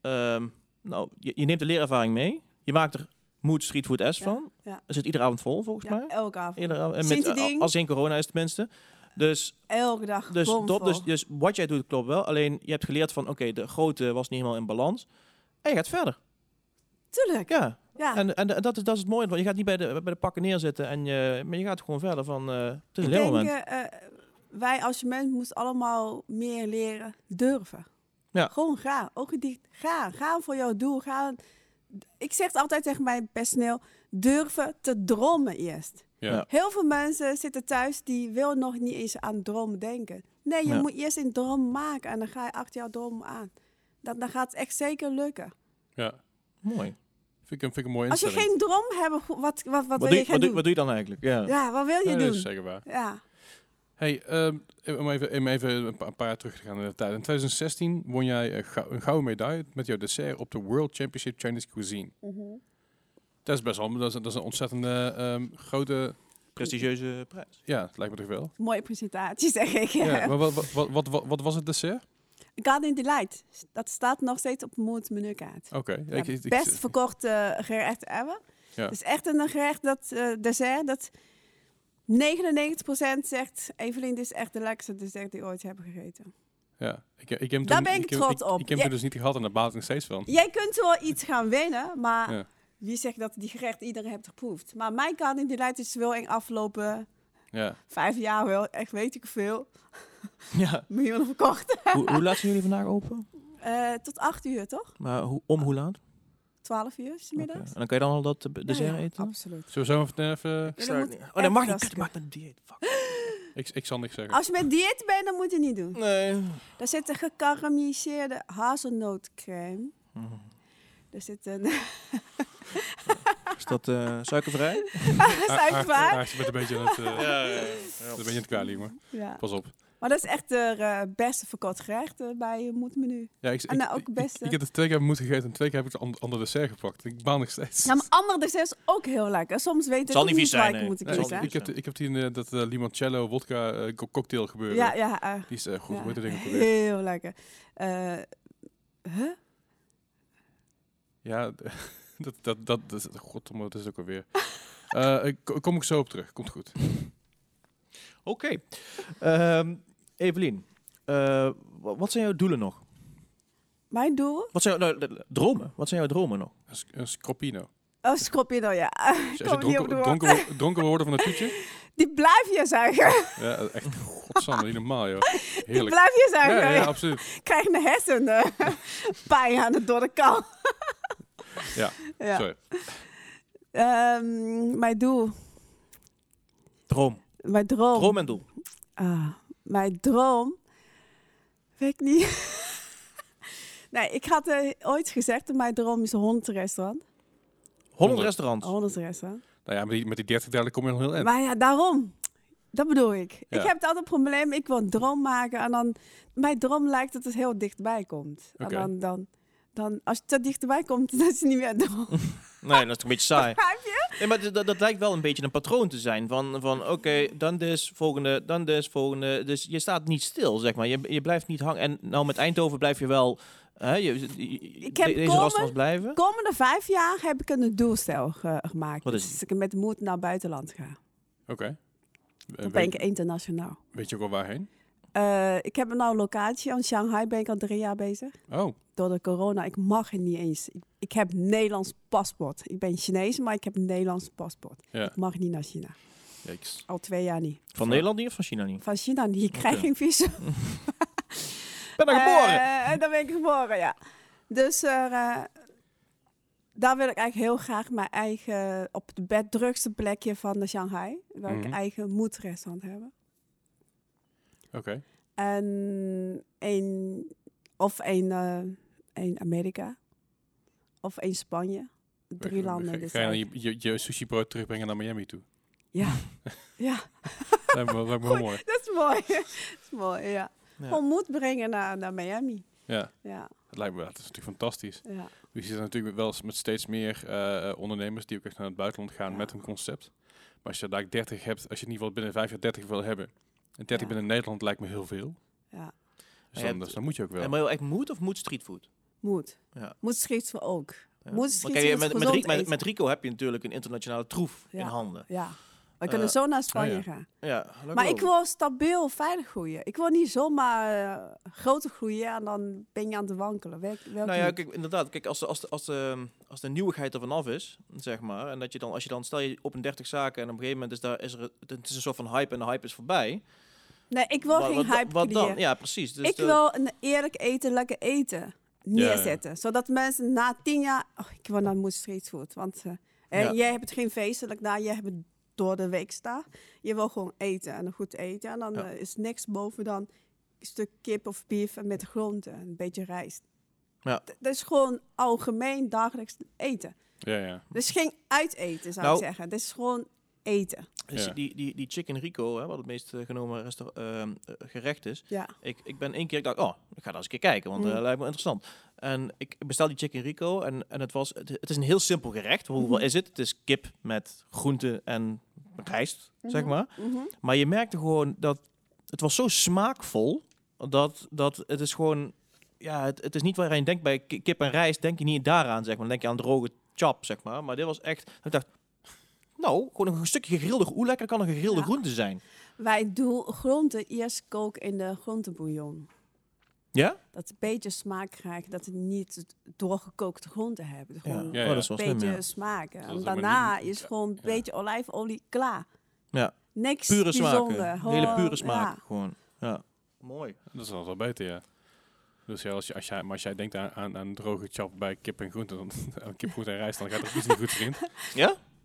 Speaker 3: Ehm, nou, je, je neemt de leerervaring mee, je maakt er Mood Street Food S
Speaker 1: Ja,
Speaker 3: van.
Speaker 1: ja.
Speaker 3: Er zit iedere avond vol, volgens
Speaker 1: Ja,
Speaker 3: mij.
Speaker 1: elke avond,
Speaker 3: Iedere, avond- en
Speaker 1: Sinds
Speaker 3: met, eh,
Speaker 1: die ding.
Speaker 3: als in corona is tenminste. Dus
Speaker 1: elke dag.
Speaker 3: dus,
Speaker 1: bomvol.
Speaker 3: top, dus, dus wat jij doet klopt wel. Alleen je hebt geleerd van, oké, de grootte was niet helemaal in balans. En je gaat verder.
Speaker 1: Tuurlijk,
Speaker 3: Ja.
Speaker 1: ja.
Speaker 3: En, en dat, is, dat is het mooie. Want je gaat niet bij de, bij de pakken neerzitten. En je, maar je gaat gewoon verder van, eh het is een
Speaker 1: ik denk,
Speaker 3: leermoment.
Speaker 1: eh, eh, wij als mens moesten allemaal meer leren durven.
Speaker 3: Ja.
Speaker 1: Gewoon ga, ogen dicht, ga, ga voor jouw doel, ga. Ik zeg het altijd tegen mijn personeel, durven te dromen eerst.
Speaker 2: Ja.
Speaker 1: Heel veel mensen zitten thuis die wil nog niet eens aan droom denken. Nee, je
Speaker 3: Ja.
Speaker 1: moet eerst een droom maken en dan ga je achter jouw droom aan. Dat, dan gaat het echt zeker lukken.
Speaker 2: ja.
Speaker 3: Mooi.
Speaker 2: Vind, ik een, vind ik een mooie
Speaker 1: Als je
Speaker 2: instelling.
Speaker 1: geen droom hebt, wat, wat, wat, wil
Speaker 3: Wat, doe,
Speaker 1: je
Speaker 3: je-
Speaker 1: gaan
Speaker 3: wat, doe,
Speaker 1: doen?
Speaker 3: wat doe je dan eigenlijk? Ja. dus, eh,
Speaker 1: ja, wat wil je
Speaker 2: Nee, dat
Speaker 1: doen?
Speaker 2: is zeker waar.
Speaker 1: Ja,
Speaker 2: Hey, ehm, om even, om even een, pa- een paar jaar terug te gaan in de tijd. In 2016 won jij een, gou- een gouden medaille met jouw dessert op de World Championship Chinese Cuisine.
Speaker 1: Mhm.
Speaker 2: Dat is best wel, dat is, dat is een ontzettende ehm, grote,
Speaker 3: Prestigieuze prijs.
Speaker 2: ja, het lijkt me toch wel.
Speaker 1: mooie presentatie zeg ik.
Speaker 2: Ja, maar wat, wat, wat, wat, wat was het dessert?
Speaker 1: Garden Delight, dat staat nog steeds op mijn menukaart.
Speaker 2: Oké.
Speaker 1: Ja,
Speaker 2: ik- ik- ik-
Speaker 1: best verkochte eh, gerecht ever.
Speaker 2: Ja.
Speaker 1: Het is echt een gerecht dat eh, dessert dat 99% zegt Evelien, dit is echt de lekkerste dessert die ik ooit heb gegeten.
Speaker 2: ja, ik, ik heb hem
Speaker 1: Daar
Speaker 2: toen-
Speaker 1: ben ik
Speaker 2: heb-
Speaker 1: trots op.
Speaker 2: Ik, heb
Speaker 1: Ja.
Speaker 2: hem dus niet gehad en daar baat ik nog steeds van.
Speaker 1: Jij kunt wel iets gaan winnen, maar
Speaker 2: Ja.
Speaker 1: wie zegt dat die gerecht iedereen hebt geproefd? Maar mijn kant die leidt is wel in afgelopen
Speaker 2: Ja.
Speaker 1: vijf jaar wel, echt weet ik veel,
Speaker 3: Ja.
Speaker 1: miljoenen verkocht.
Speaker 3: hoe, hoe laat zijn jullie vandaag open?
Speaker 1: Eh, tot acht uur, toch?
Speaker 3: Maar hoe, om hoe laat?
Speaker 1: Twaalf uur, is het
Speaker 3: Oké.
Speaker 1: middags.
Speaker 3: En dan kan je dan al dat eh, b- dessert
Speaker 1: Nou Ja, ja,
Speaker 3: eten?
Speaker 1: Absoluut.
Speaker 2: Zullen we zo even... even- eh,
Speaker 1: Jullie moeten
Speaker 3: Oh, dat
Speaker 1: echt
Speaker 3: mag niet.
Speaker 1: rassen.
Speaker 3: Kut, maakt een dieet. Fuck.
Speaker 2: ik, ik zal niks zeggen.
Speaker 1: Als je met dieet bent, dan moet je het niet doen.
Speaker 3: Nee.
Speaker 1: Daar zit een gekarameliseerde hazelnootcrème.
Speaker 3: Mhm.
Speaker 1: Er zit een
Speaker 3: Is dat eh, suikervrij?
Speaker 1: Ah,
Speaker 2: Ah,
Speaker 3: Ah,
Speaker 1: suikervaar.
Speaker 2: Aard, je bent een beetje aan het, eh,
Speaker 3: ja,
Speaker 2: een beetje aan het kwalijk, maar
Speaker 1: Ja.
Speaker 2: pas op.
Speaker 1: Maar dat is echt de eh, beste verkocht gerecht eh, bij je moedmenu.
Speaker 2: Ja, ik,
Speaker 1: En
Speaker 2: ik-
Speaker 1: nou ook
Speaker 2: ik-
Speaker 1: beste.
Speaker 2: Ik, heb het twee keer moeten gegeten en twee keer heb ik het an- ander dessert gepakt. Ik baan nog steeds.
Speaker 1: Nou, maar andere dessert is ook heel lekker. Soms weet ik
Speaker 3: Zal
Speaker 1: ook
Speaker 3: niet
Speaker 1: niet
Speaker 3: vies
Speaker 1: waar
Speaker 3: zijn,
Speaker 1: ik
Speaker 3: nee.
Speaker 1: moet
Speaker 3: Nee,
Speaker 2: ik,
Speaker 1: kiezen.
Speaker 2: ik, heb, ik heb die eh, dat eh, limoncello wodka eh, co- cocktail gebeuren.
Speaker 1: Ja, ja. eh,
Speaker 2: Die is eh, goed.
Speaker 1: ja,
Speaker 2: Hoe heet dat ding ook alweer?
Speaker 1: heel lekker. Eh, huh?
Speaker 2: Ja, d- dat, dat, dat, dat, god, dat is het ook alweer. Eh, ik- ko- kom ik zo op terug. Komt goed.
Speaker 3: Oké. Ehm, Evelien, eh, wa- wat zijn jouw doelen nog?
Speaker 1: Mijn doel?
Speaker 3: Wat zijn jouw nou, de- de- dromen? Wat zijn jouw dromen nog?
Speaker 2: Een s- Een scroppino.
Speaker 1: Oh, Scorpino, ja.
Speaker 2: Als je
Speaker 1: kom niet op de woord.
Speaker 2: dronken, dronken, wo- dronken worden van een toetje.
Speaker 1: Die blijf je zeggen.
Speaker 2: Ja, eh, echt godsamme, niet normaal joh.
Speaker 1: Die
Speaker 2: Heerlijk.
Speaker 1: blijf je zeggen.
Speaker 2: Ja, ja, absoluut.
Speaker 1: Ik krijg een hersenpijn aan de dorre kant.
Speaker 2: Ja,
Speaker 1: ja.
Speaker 2: Sorry.
Speaker 1: Ehm, mijn doel,
Speaker 3: Droom.
Speaker 1: mijn droom.
Speaker 3: Droom en doel.
Speaker 1: Ah, mijn droom. Weet ik niet. nee, ik had eh, ooit gezegd dat mijn droom is een hondenrestaurant.
Speaker 3: 100
Speaker 2: Honderd.
Speaker 1: Een
Speaker 3: restaurants.
Speaker 1: hondenrestaurant.
Speaker 2: Nou ja, met die, met die 30 dadelijk kom je nog heel eind.
Speaker 1: Maar ja, daarom. Dat bedoel ik.
Speaker 2: Ja.
Speaker 1: Ik heb het altijd een probleem. Ik wil een droom maken. En dan, mijn droom lijkt dat het heel dichtbij komt.
Speaker 2: Oké.
Speaker 1: En dan, dan, dan, als het te dichtbij komt, dan is het niet meer een
Speaker 2: Ah,
Speaker 1: droom.
Speaker 3: Nee, dat is toch een beetje saai.
Speaker 1: Begrijp je?
Speaker 3: Nee, maar dat, dat lijkt wel een beetje een patroon te zijn. Van, van oké, dan dus, volgende, dan dus, volgende. Dus je staat niet stil, zeg maar. Je, je blijft niet hangen. En nou, met Eindhoven blijf je wel eh, Hè, je, je-
Speaker 1: Ik
Speaker 3: de-
Speaker 1: heb
Speaker 3: deze
Speaker 1: komen-
Speaker 3: restaurants blijven.
Speaker 1: Komende vijf jaar heb ik een doelstel ge- gemaakt.
Speaker 3: Wat is
Speaker 1: Dus
Speaker 3: die?
Speaker 1: dat ik met moed naar buitenland ga.
Speaker 2: Oké. Eh,
Speaker 1: Dan ben ik
Speaker 2: Weet,
Speaker 1: internationaal.
Speaker 2: weet je ook al waarheen?
Speaker 1: Eh, ik heb nou een locatie. In Shanghai ben ik al drie jaar bezig.
Speaker 2: Oh,
Speaker 1: Door de corona, ik mag er niet eens. Ik, ik heb Nederlands paspoort. Ik ben Chinees, maar ik heb Nederlands paspoort.
Speaker 2: ja.
Speaker 1: Ik mag niet naar China.
Speaker 2: Yikes.
Speaker 1: Al twee jaar niet.
Speaker 3: Van Nederland niet of van China niet?
Speaker 1: Van China niet. Ik krijg
Speaker 3: Oké.
Speaker 1: geen visum.
Speaker 3: Ik ben er geboren!
Speaker 1: Eh, en dan ben ik geboren, ja. Dus er, eh, daar wil ik eigenlijk heel graag mijn eigen, op de bed, drukste plekje van de Shanghai, wil ik
Speaker 2: Mhm.
Speaker 1: eigen moedrestaurant hebben.
Speaker 2: Oké.
Speaker 1: En een, of een, eh, een Amerika, of een Spanje. Drie landen.
Speaker 2: Ga,
Speaker 1: dus
Speaker 2: ga je dan je,
Speaker 1: eigenlijk.
Speaker 2: je, je sushi brood terugbrengen naar Miami toe?
Speaker 1: Ja, ja,
Speaker 2: Dat lijkt me, lijkt me wel mooi.
Speaker 1: dat is mooi. dat is mooi, ja.
Speaker 3: Ja.
Speaker 1: Gewoon moed brengen naar, naar Miami.
Speaker 2: Ja,
Speaker 1: Ja,
Speaker 2: dat lijkt me. Dat is natuurlijk fantastisch.
Speaker 1: ja.
Speaker 2: We zitten natuurlijk wel eens met steeds meer eh, eh, ondernemers die ook echt naar het buitenland gaan
Speaker 1: Ja.
Speaker 2: met hun concept. Maar als je daar 30 hebt, als je in ieder geval binnen vijf jaar 30 wil hebben. En 30
Speaker 1: Ja.
Speaker 2: binnen Nederland lijkt me heel veel.
Speaker 1: Ja.
Speaker 2: Dus
Speaker 3: je
Speaker 2: dan,
Speaker 3: hebt-
Speaker 2: dus dan moet je ook wel.
Speaker 3: En maar je wil echt moed of moed streetfood?
Speaker 1: Moed.
Speaker 3: Ja.
Speaker 1: Moed schreef ze ook.
Speaker 3: Ja.
Speaker 1: Moed
Speaker 3: Maar
Speaker 1: streetfood
Speaker 3: kijk, je-
Speaker 1: is
Speaker 3: met, met,
Speaker 1: gezond
Speaker 3: Ri- met,
Speaker 1: eten.
Speaker 3: met Rico heb je natuurlijk een internationale troef
Speaker 1: Ja.
Speaker 3: in handen.
Speaker 1: Ja. We kunnen
Speaker 3: Eh,
Speaker 1: zo naar Spanje
Speaker 2: oh ja.
Speaker 1: gaan.
Speaker 3: Ja,
Speaker 1: Maar ik wil stabiel, veilig groeien. Ik wil niet zomaar eh, groter groeien en dan ben je aan het wankelen. Wel, wel
Speaker 3: Nou ja,
Speaker 1: niet.
Speaker 3: kijk, inderdaad. Kijk, als de, als, de, als, de, als de nieuwigheid er vanaf is, zeg maar, en dat je dan, als je dan, stel je op een 30 zaken en op een gegeven moment is daar, is er, het is een soort van hype en de hype is voorbij.
Speaker 1: nee, ik wil
Speaker 3: Wa-
Speaker 1: geen
Speaker 3: wat, da-
Speaker 1: hype
Speaker 3: Wat dan?
Speaker 1: creëren.
Speaker 3: Ja, precies. Dus
Speaker 1: ik
Speaker 3: de-
Speaker 1: wil een eerlijk eten, lekker eten neerzetten. Zodat mensen na tien jaar... Oh, ik wil naar Moed Street Food. Want eh, eh,
Speaker 3: Ja.
Speaker 1: jij hebt het geen feestelijk daar, jij hebt het door de week staan. Je wil gewoon eten en goed eten. En dan
Speaker 3: Ja.
Speaker 1: eh, is niks boven dan een stuk kip of beef en met groenten. Een beetje rijst.
Speaker 3: Ja.
Speaker 1: D- Dat is gewoon algemeen dagelijks eten.
Speaker 2: Ja, ja.
Speaker 1: Dus geen uiteten, zou
Speaker 3: Nou.
Speaker 1: ik zeggen. Dit is gewoon eten.
Speaker 3: dus
Speaker 2: Ja.
Speaker 3: die, die, die Chicken Rico, hè, wat het meest eh, genomen resta- ehm, eh, gerecht is.
Speaker 1: Ja.
Speaker 3: Ik, ik ben één keer, ik dacht, oh, ik ga daar eens een keer kijken, want dat
Speaker 1: Mm.
Speaker 3: lijkt me interessant. En ik bestel die Chicken Rico en, en het, was, het, het is een heel simpel gerecht. Hoeveel
Speaker 1: Mhm.
Speaker 3: is het? Het is kip met groenten en rijst, zeg
Speaker 1: Mhm.
Speaker 3: maar.
Speaker 1: Mhm.
Speaker 3: Maar je merkte gewoon dat het was zo smaakvol dat, dat het is gewoon, ja, het, het is niet waar je denkt bij ki- kip en rijst, denk je niet daaraan, zeg maar. Dan denk je aan droge chap, zeg maar. Maar dit was echt, dat ik dacht, nou, gewoon een stukje gegrilde, hoe lekker kan een gegrilde
Speaker 1: Ja.
Speaker 3: groente zijn?
Speaker 1: Wij doen groenten eerst koken in de groentebouillon.
Speaker 3: Ja?
Speaker 1: Dat ze een beetje smaak krijgen, dat ze niet doorgekookte groenten hebben. Gewoon
Speaker 2: Ja,
Speaker 3: Oh,
Speaker 2: ja.
Speaker 3: dat is wel
Speaker 1: een
Speaker 3: slim,
Speaker 1: beetje
Speaker 3: ja.
Speaker 1: smaken.
Speaker 2: Dat
Speaker 1: En
Speaker 2: is maar
Speaker 1: daarna
Speaker 2: niet-
Speaker 1: is gewoon een
Speaker 2: ja.
Speaker 1: beetje olijfolie klaar.
Speaker 3: Ja.
Speaker 1: Niks
Speaker 3: Pure
Speaker 1: bijzonder.
Speaker 3: smaken,
Speaker 1: Gewoon,
Speaker 3: hele pure smaak,
Speaker 1: ja.
Speaker 3: gewoon. Ja. Mooi.
Speaker 2: Dat is dan wel beter, ja. Dus ja, als, je, als, jij, maar als jij denkt aan, aan, aan droge chap bij kip en groente, dan, aan kip, groente en rijst, dan gaat dat iets niet goed vriend.
Speaker 3: Ja?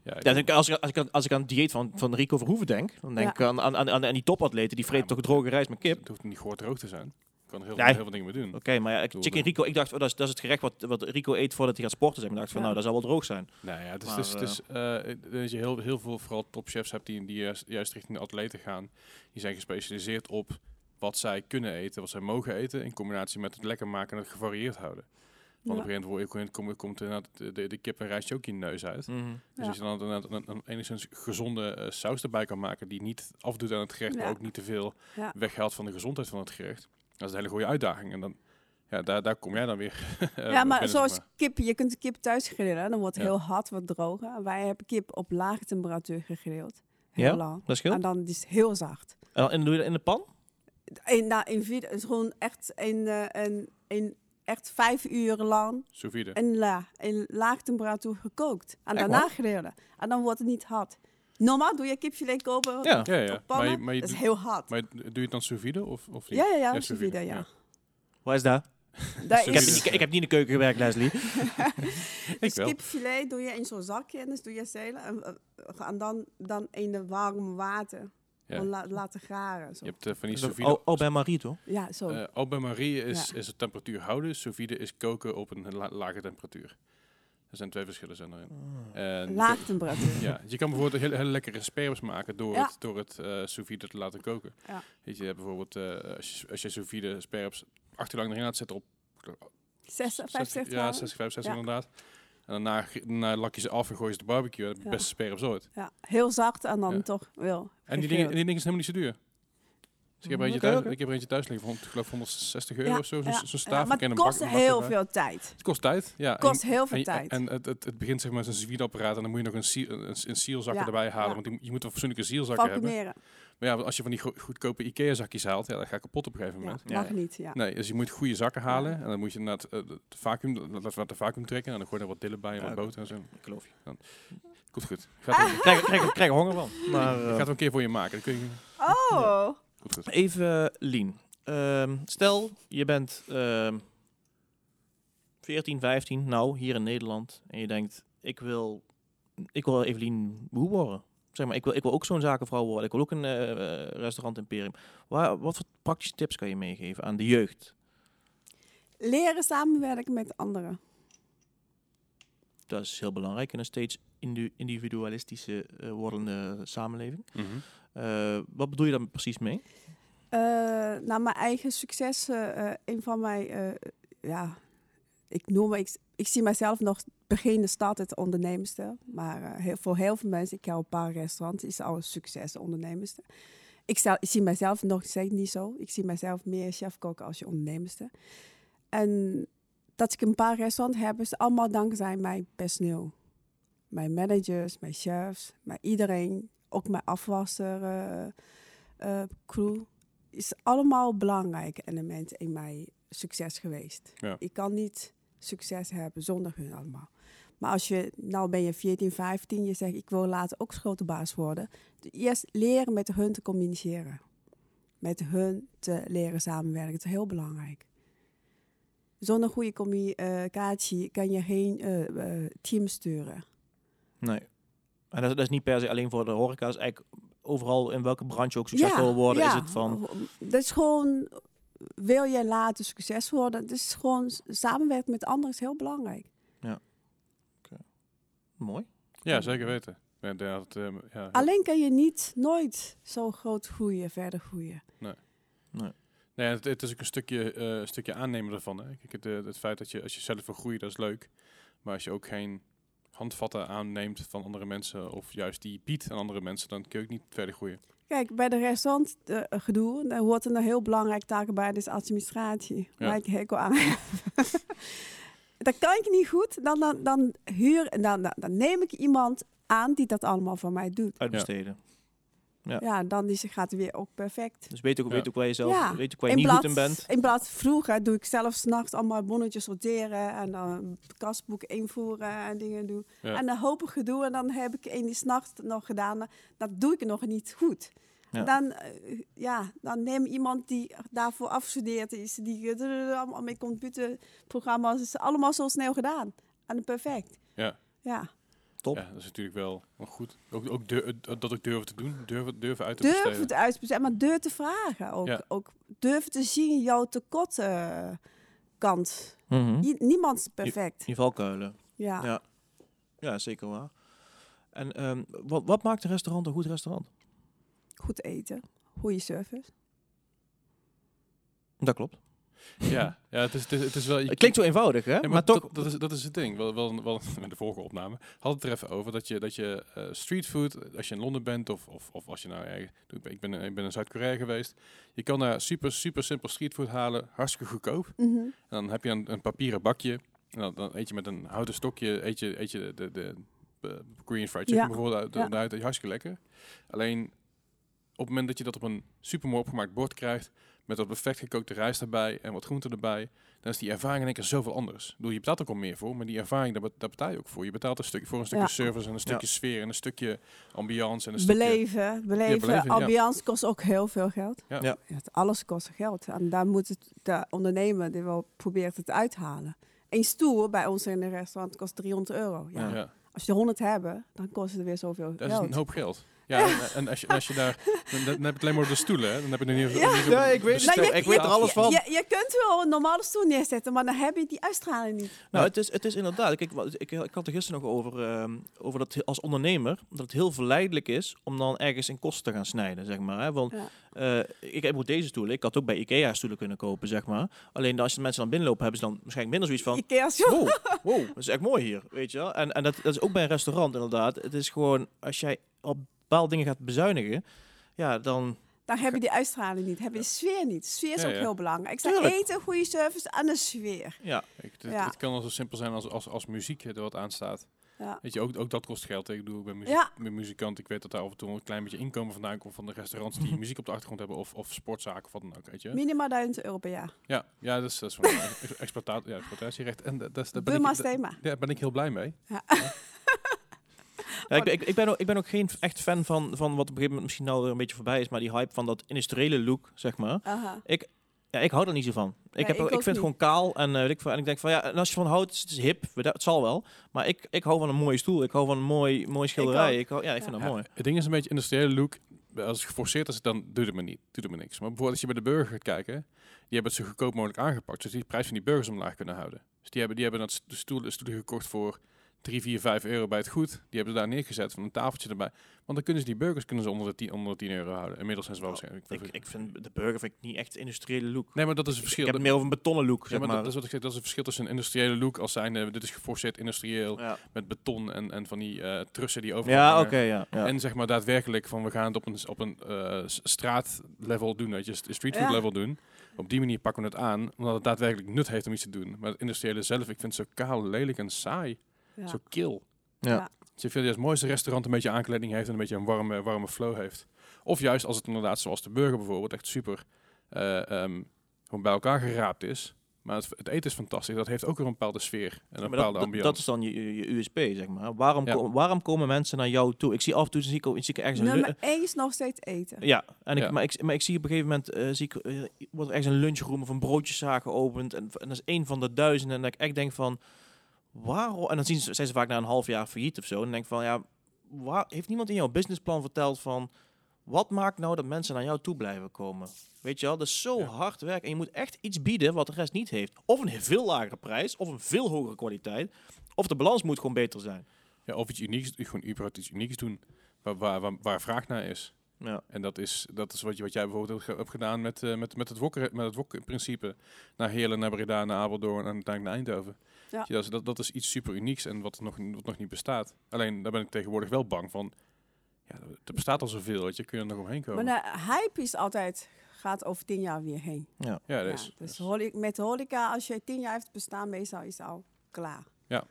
Speaker 2: Ja, ik-
Speaker 3: Ja, denk ik, als, ik, als, ik aan, als ik aan het dieet van, van Rico Verhoeven denk, dan denk
Speaker 1: Ja.
Speaker 3: ik aan, aan, aan, aan die topatleten, die vreten
Speaker 2: Ja,
Speaker 3: toch droge rijst met kip?
Speaker 2: Het hoeft niet goor droog te zijn. Je kan er heel,
Speaker 3: Nee.
Speaker 2: veel, heel veel dingen mee doen.
Speaker 3: Oké, maar ja, ik-
Speaker 2: Bedoel,
Speaker 3: Chicken
Speaker 2: dat-
Speaker 3: Rico, ik dacht, oh, dat, is, dat is het gerecht wat, wat Rico eet voordat hij gaat sporten. Zeg. maar. Ik dacht van,
Speaker 1: Ja.
Speaker 3: nou, dat zal wel droog zijn.
Speaker 2: Nou ja, het is
Speaker 3: Maar,
Speaker 2: dus, het is, eh, ik denk dat je heel, heel veel vooral topchefs hebt die, die juist, juist richting de atleten gaan. Die zijn gespecialiseerd op wat zij kunnen eten, wat zij mogen eten, in combinatie met het lekker maken en het gevarieerd houden. Want
Speaker 1: Ja.
Speaker 2: op een gegeven moment word je- komt, komt inderdaad de, de, de kip en rijstje ook je neus uit.
Speaker 3: Mhm.
Speaker 2: Dus
Speaker 1: Ja.
Speaker 2: als je dan inderdaad een, een enigszins gezonde eh, saus erbij kan maken, die niet afdoet aan het gerecht, maar
Speaker 1: Ja.
Speaker 2: ook niet te veel
Speaker 1: Ja.
Speaker 2: weghaalt van de gezondheid van het gerecht. Dat is een hele goede uitdaging. En dan, ja, daar, daar kom jij dan weer. eh,
Speaker 1: Ja, maar
Speaker 2: binnen, zeg
Speaker 1: zoals kip, je kunt de kip thuis grillen. Dan wordt het
Speaker 2: Ja.
Speaker 1: heel hard, wat droger. En Wij hebben kip op lage temperatuur gegrild. Heel
Speaker 3: Ja?
Speaker 1: lang.
Speaker 3: Dat scheelt.
Speaker 1: En dan is het heel zacht.
Speaker 3: En, dan- en doe je dat in de pan?
Speaker 1: In, nou, in vier, het is gewoon echt, een, eh, een, een, echt vijf uur lang
Speaker 2: Sous vide.
Speaker 1: in, la, in laag temperatuur gekookt. En
Speaker 3: Echt
Speaker 1: daarna
Speaker 3: waar?
Speaker 1: grillen. En dan wordt het niet hard. Normaal doe je kipfilet kopen
Speaker 3: Ja.
Speaker 2: Ja, ja.
Speaker 1: op
Speaker 2: Maar,
Speaker 1: pannen.
Speaker 2: je- maar, je
Speaker 1: dat is
Speaker 2: doet-
Speaker 1: heel hard.
Speaker 2: maar doe je het dan sous vide of, of niet?
Speaker 1: ja, ja, ja.
Speaker 2: Ja,
Speaker 1: sous
Speaker 2: vide,
Speaker 1: vide, ja.
Speaker 3: Waar is dat?
Speaker 1: Daar
Speaker 2: Ik
Speaker 3: Ik heb,
Speaker 2: Sous
Speaker 1: is,
Speaker 2: vide.
Speaker 3: ik, ik heb niet in de keuken gewerkt, Leslie.
Speaker 2: Ik
Speaker 1: dus
Speaker 2: wel.
Speaker 1: kipfilet doe je in zo'n zakje. En dus doe je zelen. En, eh, en dan, dan in de warm water.
Speaker 2: Ja.
Speaker 1: Om la- laten garen. Zo.
Speaker 2: Je hebt eh, van die
Speaker 3: Dus
Speaker 2: sous
Speaker 3: ook-
Speaker 2: vide.
Speaker 3: Oh, oh, bij Marie, toch?
Speaker 1: Ja, zo.
Speaker 2: eh, Al bij Marie is,
Speaker 1: Oh. Ja.
Speaker 2: is de temperatuur houden. Sous vide is koken op een la- lage temperatuur. Er zijn twee verschillen zijn erin.
Speaker 3: Ah.
Speaker 2: En-
Speaker 1: laag temperatuur.
Speaker 2: Ja, je kan bijvoorbeeld hele, hele lekkere sperms maken door
Speaker 1: Ja.
Speaker 2: het, door het eh sous vide te laten koken.
Speaker 1: Ja.
Speaker 2: Weet je, je hebt bijvoorbeeld eh, als je, als je sous vide sperms acht uur lang erin laat zetten op
Speaker 1: 6, 5, 6
Speaker 2: ja, 60, 65
Speaker 1: Ja.
Speaker 2: inderdaad. En daarna, ge- daarna lak je ze af en gooi je ze de barbecue. Dat heb je
Speaker 1: Ja.
Speaker 2: beste sperms ooit.
Speaker 1: Ja, heel zacht en dan
Speaker 2: Ja.
Speaker 1: toch wel.
Speaker 2: En die
Speaker 1: gegrild.
Speaker 2: dingen, die dingen zijn helemaal niet zo duur. Dus ik heb er
Speaker 3: Mm,
Speaker 2: eentje
Speaker 3: oké,
Speaker 2: thuis,
Speaker 3: oké.
Speaker 2: ik heb er eentje thuis liggen voor hond- ik geloof 160 euro
Speaker 1: Ja,
Speaker 2: of zo. Zo'n
Speaker 1: ja,
Speaker 2: zo'n
Speaker 1: ja,
Speaker 2: staaf.
Speaker 1: maar het kost heel veel tijd.
Speaker 2: Het kost tijd. Ja.
Speaker 1: Het kost heel
Speaker 2: en,
Speaker 1: veel tijd.
Speaker 2: En, het, het, het begint zeg maar met een zwierapparaat en dan moet je nog een, seal, een, een sealzakker
Speaker 1: Ja,
Speaker 2: erbij halen.
Speaker 1: ja.
Speaker 2: Want je, je moet wel fatsoenlijke sealzakken hebben.
Speaker 1: Valkenmeren.
Speaker 2: Maar ja, als je van die go- goedkope Ikea-zakjes haalt, ja, dan ga ik kapot op een gegeven
Speaker 1: Ja,
Speaker 2: moment.
Speaker 1: mag
Speaker 3: Ja, ja.
Speaker 1: niet, ja.
Speaker 2: Nee, dus je moet goede zakken halen en dan moet je eh, naar het, vacuüm, laat laat de vacuüm trekken en dan gooi je er wat dillen bij en
Speaker 3: Ja,
Speaker 2: wat
Speaker 3: oké.
Speaker 2: boter en zo.
Speaker 3: Ik geloof je. Ah.
Speaker 2: Komt goed. Ik ga het,
Speaker 3: Ik krijg, ik krijg, ik krijg honger wel. Maar,
Speaker 2: ik
Speaker 3: eh,
Speaker 2: ga het wel een keer voor je maken. Dan kun je,
Speaker 1: Oh,
Speaker 2: komt goed.
Speaker 3: Even Lien. Ehm, stel, je bent ehm 14, 15, nou, hier in Nederland. En je denkt, ik wil, ik wil Evelien Boe worden. Zeg maar, ik wil, ik wil ook zo'n zakenvrouw worden. Ik wil ook een eh, eh, restaurant imperium. Waar, wat voor praktische tips kan je meegeven aan de jeugd?
Speaker 1: leren samenwerken met anderen.
Speaker 3: Dat is heel belangrijk in een steeds indu- individualistische eh, wordende samenleving.
Speaker 2: Mhm.
Speaker 3: Eh, wat bedoel je daar precies mee?
Speaker 1: Eh nou, mijn eigen successen, eh, een van mijn, eh, ja, ik noem, ik, ik zie mezelf nog beginnende starter onderneemster. Maar eh, heel, voor heel veel mensen, ik heb een paar restaurants, is al een succes onderneemster. Ik, zou, ik zie mezelf nog steeds niet zo. Ik zie mezelf meer chefkok als je onderneemster. En dat ik een paar restaurants heb, is allemaal dankzij mijn personeel. Mijn managers, mijn chefs, maar iedereen, ook mijn afwasser, eh, eh, crew, is allemaal een belangrijk element in mijn succes geweest.
Speaker 2: Ja.
Speaker 1: Ik kan niet succes hebben zonder hun allemaal. Maar als je, nou ben je 14, 15, je zegt ik wil later ook grote baas worden. Eerst leren met hun te communiceren. Met hun te leren samenwerken, dat is heel belangrijk. Zonder goede communicatie kan je geen eh, eh, team sturen.
Speaker 3: Nee. En dat, dat is niet per se alleen voor de horeca. Dat is eigenlijk overal in welke branche je ook succesvol wil worden. Is
Speaker 1: ja.
Speaker 3: het van,
Speaker 1: Dat is gewoon, wil je later succes worden, dat is gewoon s- samenwerken met anderen is heel belangrijk.
Speaker 3: mooi.
Speaker 2: Ja, zeker weten. Ja, dat, eh, ja,
Speaker 1: Alleen kan je niet, nooit zo groot groeien, verder groeien.
Speaker 2: Nee, het, het is ook een stukje, eh, een stukje aannemen daarvan. Hè. Kijk, het, eh, het feit dat je als je zelf wil groeien, dat is leuk. Maar als je ook geen handvatten aanneemt van andere mensen, of juist die biedt aan andere mensen, dan kun je ook niet verder groeien.
Speaker 1: Kijk, bij de restaurant eh, gedoe, daar hoort een heel belangrijke taak bij, dat is administratie.
Speaker 2: Ja.
Speaker 1: Waar ik hekel aan heb. dat kan ik niet goed, dan, dan, dan, huur, dan, dan, dan neem ik iemand aan die dat allemaal voor mij doet.
Speaker 3: Uitbesteden. Ja.
Speaker 1: Ja, dan is, gaat het weer ook perfect.
Speaker 3: Dus weet ook,
Speaker 2: Ja.
Speaker 3: weet ook waar je zelf
Speaker 1: Ja.
Speaker 3: weet ook waar je
Speaker 1: In
Speaker 3: niet
Speaker 1: plaats,
Speaker 3: goed in bent.
Speaker 1: in plaats vroeger doe ik zelf s'nachts allemaal bonnetjes sorteren en dan kastboek invoeren en dingen doen.
Speaker 2: Ja.
Speaker 1: En dan hoop ik gedoe en dan heb ik één die s'nachts nog gedaan. Dat doe ik nog niet goed.
Speaker 3: Ja.
Speaker 1: Dan, eh, ja, dan neem iemand die daarvoor afgestudeerd is, die eh, allemaal met computerprogramma's, is allemaal zo snel gedaan. En perfect.
Speaker 2: Ja.
Speaker 1: Ja.
Speaker 3: Top.
Speaker 2: Ja, dat is natuurlijk wel, wel goed. Ook, ook durf- eh, dat ook durven te doen, durven, durven uit te
Speaker 1: Durf
Speaker 2: besteden.
Speaker 1: het uit te besteden, maar durf te vragen ook.
Speaker 2: Ja.
Speaker 1: ook durf te zien jouw tekortkant. kant.
Speaker 3: Mhm.
Speaker 1: Nie- Niemand is perfect.
Speaker 3: Je valkuilen.
Speaker 1: Ja.
Speaker 3: Ja. Ja, zeker waar. En ehm, wat, wat maakt een restaurant een goed restaurant?
Speaker 1: goed eten, goede service.
Speaker 3: Dat klopt.
Speaker 2: Ja, ja het, is, het, is, het is wel... je-
Speaker 3: Het klinkt zo eenvoudig, hè?
Speaker 2: Ja, maar
Speaker 3: maar, toch...
Speaker 2: dat, dat, is, dat is het ding. Wel, wel, wel, met de vorige opname had het er even over dat je, dat je eh, streetfood, als je in Londen bent of, of, of als je nou... eh, ik ben- ik ben, ik ben in Zuid-Korea geweest. Je kan daar super, super simpel streetfood halen, hartstikke goedkoop. En dan heb je een, een papieren bakje. En dan, dan eet je met een houten stokje eet je, eet je de, de, de, eh, Korean fried chicken
Speaker 1: Ja.
Speaker 2: bijvoorbeeld uit, eh,
Speaker 1: Ja.
Speaker 2: uit, Hartstikke lekker. Alleen op het moment dat je dat op een super mooi opgemaakt bord krijgt... met wat perfect gekookte rijst erbij en wat groenten erbij... dan is die ervaring in één keer zoveel anders. Ik bedoel, je betaalt ook al meer voor, maar die ervaring, daar, be- daar betaal je ook voor. Je betaalt een stuk, voor een stukje
Speaker 1: Ja.
Speaker 2: service en een stukje sfeer... en een stukje ambiance en een stukje...
Speaker 1: Beleven, beleven.
Speaker 2: beleven, ja.
Speaker 1: Ambiance kost ook heel veel geld.
Speaker 2: Ja.
Speaker 3: Ja.
Speaker 1: het- alles kost geld. En daar moet het, de ondernemer die wel probeert het uithalen. Een stoel bij ons in een restaurant kost 300 euro. Ja.
Speaker 3: Ja.
Speaker 2: Ja,
Speaker 1: Als je 100 hebben, dan kost het weer zoveel
Speaker 2: dat is
Speaker 1: geld. Nou,
Speaker 2: een hoop geld. Ja, en- en als je, als je daar... Dan, dan heb je het alleen maar over de stoelen, hè? Dan heb je er niet
Speaker 1: Ja.
Speaker 2: niet-
Speaker 3: Ja, ik weet-
Speaker 2: de
Speaker 1: Nou,
Speaker 2: stel-
Speaker 3: je- ik weet er alles van.
Speaker 1: Je, je kunt wel een normale stoel neerzetten, maar dan heb je die uitstraling niet.
Speaker 3: Nou, het is, het is inderdaad... Kijk, wat- ik, ik had er gisteren nog over, ehm, over dat als ondernemer... dat het heel verleidelijk is om dan ergens in kosten te gaan snijden, zeg maar. Hè? Want
Speaker 1: Ja.
Speaker 3: Eh, ik heb ook deze stoelen. Ik had ook bij Ikea stoelen kunnen kopen, zeg maar. Alleen als de mensen dan binnenlopen, hebben ze dan waarschijnlijk minder zoiets van...
Speaker 1: Ikea is
Speaker 3: Wow, wow, dat is echt mooi hier, weet je wel. En, en dat, dat is ook bij een restaurant inderdaad. Het is gewoon, als jij op bepaalde dingen gaat bezuinigen... Ja, dan
Speaker 1: Dan heb je die uitstraling niet, heb je de sfeer niet. Sfeer is
Speaker 2: Ja,
Speaker 1: ook
Speaker 2: ja.
Speaker 1: heel belangrijk. Ik zeg
Speaker 3: Tuurlijk.
Speaker 1: eten, goede service aan de sfeer.
Speaker 3: Ja,
Speaker 2: Ik, het,
Speaker 1: Ja.
Speaker 2: het kan al zo simpel zijn als, als, als muziek eh, er wat aan staat.
Speaker 1: Ja.
Speaker 2: Weet je, ook, ook dat kost geld. hè. Ik bedoel, ik ben, muziek,
Speaker 1: Ja.
Speaker 2: ik ben muzikant. Ik weet dat daar af en toe een klein beetje inkomen vandaan komt van de restaurants die muziek op de achtergrond hebben. Of, of sportzaken of wat dan ook, weet je.
Speaker 1: Minimaal 1000 euro per jaar.
Speaker 2: Ja, ja dat is, dat is van exploitatie, ja, exploitatierecht. En dat, dat, is- daar ben ik,
Speaker 1: Bumma's
Speaker 2: da-
Speaker 1: thema.
Speaker 2: ja, daar ben ik heel blij mee.
Speaker 3: Ja, ik, ben- ik, ik, ben ook, ik ben ook geen echt fan van, van wat op een gegeven moment misschien nou weer een beetje voorbij is, maar die hype van dat industriële look, zeg maar.
Speaker 1: Aha.
Speaker 3: Ja, ik hou er niet zo van. Ik,
Speaker 1: Nee,
Speaker 3: heb,
Speaker 1: ik
Speaker 3: ook- ik
Speaker 1: ook
Speaker 3: vind het gewoon kaal en, eh, weet ik, veel. en ik denk van ja, en als je van houdt, is het is hip, we- dat- het zal wel. Maar ik, ik hou van een mooie stoel, ik hou van een mooi, mooi schilderij.
Speaker 1: ook.
Speaker 3: Ik hou, ja, ik vind
Speaker 1: Ja.
Speaker 3: dat mooi.
Speaker 2: Ja, het ding is een beetje industriële look. Als het geforceerd is, dan doet het me niet. Doet het me niks. Maar bijvoorbeeld als je bij de burger gaat kijken, die hebben het zo goedkoop mogelijk aangepakt. Zodat die de prijs van die burgers omlaag kunnen houden. Dus die hebben, die hebben dat st- de stoelen, stoelen gekocht voor 3, 4, 5 euro bij het goed. Die hebben ze daar neergezet van een tafeltje erbij. Want dan kunnen ze die burgers kunnen ze onder de 10, onder de 10 euro houden. Inmiddels zijn ze wel
Speaker 3: Nou,
Speaker 2: waarschijnlijk.
Speaker 3: Ik, ik vind de burger vind ik niet echt industriële look.
Speaker 2: nee, maar dat is het
Speaker 3: ik
Speaker 2: verschil.
Speaker 3: heb
Speaker 2: Dat-
Speaker 3: het meer over een betonnen look,
Speaker 2: ja,
Speaker 3: zeg
Speaker 2: maar
Speaker 3: maar.
Speaker 2: dat, dat is wat ik zeg. Dat is het verschil tussen een industriële look als zijn. eh, dit is geforceerd industrieel
Speaker 3: ja,
Speaker 2: met beton en, en van die eh trussen die over.
Speaker 3: ja oké, ja. ja.
Speaker 2: En zeg maar daadwerkelijk van we gaan het op een, op een eh, s- straatlevel doen, weet je, st- streetfood
Speaker 1: Ja.
Speaker 2: level doen. Op die manier pakken we het aan, omdat het daadwerkelijk nut heeft om iets te doen. Maar het industriële zelf, ik vind het zo kaal, lelijk en saai.
Speaker 1: Ja.
Speaker 2: Zo kil.
Speaker 3: Ja.
Speaker 1: Ja.
Speaker 2: Dus ik vind juist mooi als het restaurant een beetje aankleding heeft en een beetje een warme, warme flow heeft. Of juist als het inderdaad, zoals de burger bijvoorbeeld, echt super eh, ehm, gewoon bij elkaar geraapt is. Maar het, het eten is fantastisch. Dat heeft ook weer een bepaalde sfeer en een
Speaker 3: Maar dat,
Speaker 2: bepaalde
Speaker 3: dat- dat
Speaker 2: ambiance.
Speaker 3: is dan je, je, je USP, zeg maar. Waarom,
Speaker 2: Ja.
Speaker 3: ko- waarom komen mensen naar jou toe? Ik zie af en toe zie ik, ook- zie ik ergens een, lu-
Speaker 1: Nummer 1 is nog steeds eten.
Speaker 3: Ja, en ik,
Speaker 2: Ja.
Speaker 3: Maar, ik, maar ik zie op een gegeven moment eh, zie ik, eh, wordt er ergens een lunchroom of een broodjeszaak geopend. En, en dat is één van de duizenden. En dat ik echt denk van, waarom? En dan zien ze, zijn ze vaak na een half jaar failliet of zo. En dan denk ik van, ja, waar, heeft niemand in jouw businessplan verteld van... Wat maakt nou dat mensen naar jou toe blijven komen? Weet je wel, dat is zo
Speaker 2: Ja.
Speaker 3: hard werk. En je moet echt iets bieden wat de rest niet heeft. Of een veel lagere prijs, of een veel hogere kwaliteit. Of de balans moet gewoon beter zijn.
Speaker 2: Ja, of iets unieks, gewoon überhaupt iets unieks doen waar, waar, waar, waar vraag naar is.
Speaker 3: Ja,
Speaker 2: En dat is, dat is wat, je, wat jij bijvoorbeeld ook ge- hebt gedaan met, eh, met, met het wokken, met het wokprincipe. Naar Heerlen, naar Breda, naar Apeldoorn en uiteindelijk naar Eindhoven.
Speaker 1: Ja.
Speaker 2: Weet je, dat, is- dat, dat is iets super unieks en wat nog, wat nog niet bestaat. Alleen daar ben ik tegenwoordig wel bang van. Ja, er bestaat al zoveel, weet je, kun je er nog omheen
Speaker 1: Maar nou,
Speaker 2: komen.
Speaker 1: de hype is altijd, gaat over 10 jaar weer heen.
Speaker 2: ja,
Speaker 1: Ja,
Speaker 2: dat is,
Speaker 1: dus holi- met horeca, als je 10 jaar heeft bestaan, meestal is het al klaar.
Speaker 2: Ja.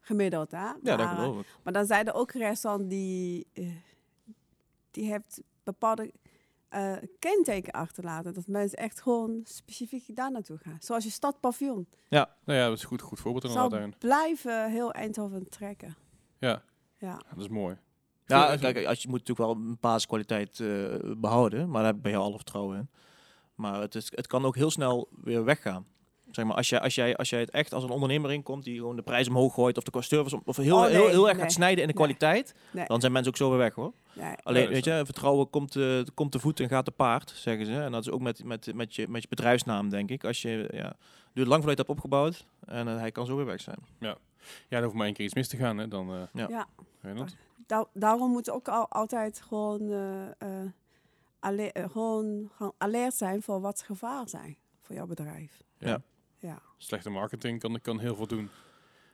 Speaker 1: Gemiddeld, hè?
Speaker 3: ja dat
Speaker 1: Maar,
Speaker 3: geloof ik.
Speaker 1: Maar dan zijn er ook restaurants die, eh, die heeft bepaalde eh, kenteken achterlaten. Dat mensen echt gewoon specifiek daar naartoe gaan. Zoals je stad Pavillon.
Speaker 2: nou ja, dat is een goed, goed voorbeeld inderdaad.
Speaker 1: Zal
Speaker 2: daarin.
Speaker 1: blijven heel Eindhoven trekken.
Speaker 2: Ja,
Speaker 1: Ja.
Speaker 2: dat is mooi.
Speaker 3: Ja,
Speaker 2: Goed,
Speaker 3: kijk, als je moet natuurlijk wel een basiskwaliteit eh, behouden, maar daar ben je al vertrouwen in. Maar het, is, het kan ook heel snel weer weggaan. Zeg maar, als jij, als, jij, als jij het echt als een ondernemer inkomt die gewoon de prijs omhoog gooit of de qua service om- of heel,
Speaker 1: Oh, nee,
Speaker 3: heel, heel erg
Speaker 1: nee.
Speaker 3: gaat snijden in de
Speaker 1: Nee.
Speaker 3: kwaliteit,
Speaker 1: Nee.
Speaker 3: dan zijn mensen ook zo weer weg hoor.
Speaker 1: Nee.
Speaker 3: Alleen,
Speaker 2: dat is
Speaker 3: weet je, vertrouwen komt, eh, komt te voet en gaat te paard, zeggen ze. En dat is ook met, met, met, je, met je bedrijfsnaam, denk ik. Als je, ja, duurt lang voordat je het hebt opgebouwd en eh, hij kan zo weer weg zijn.
Speaker 2: Ja, dan hoeft maar één keer iets mis te gaan, hè. Dan, eh,
Speaker 3: Ja.
Speaker 1: Ja.
Speaker 2: weet je dat?
Speaker 1: Da- daarom moet ook al, altijd gewoon, eh, eh, alle- eh, gewoon, gewoon alert zijn voor wat gevaar zijn voor jouw bedrijf.
Speaker 2: Ja.
Speaker 1: Ja.
Speaker 2: Slechte marketing kan, kan heel veel doen.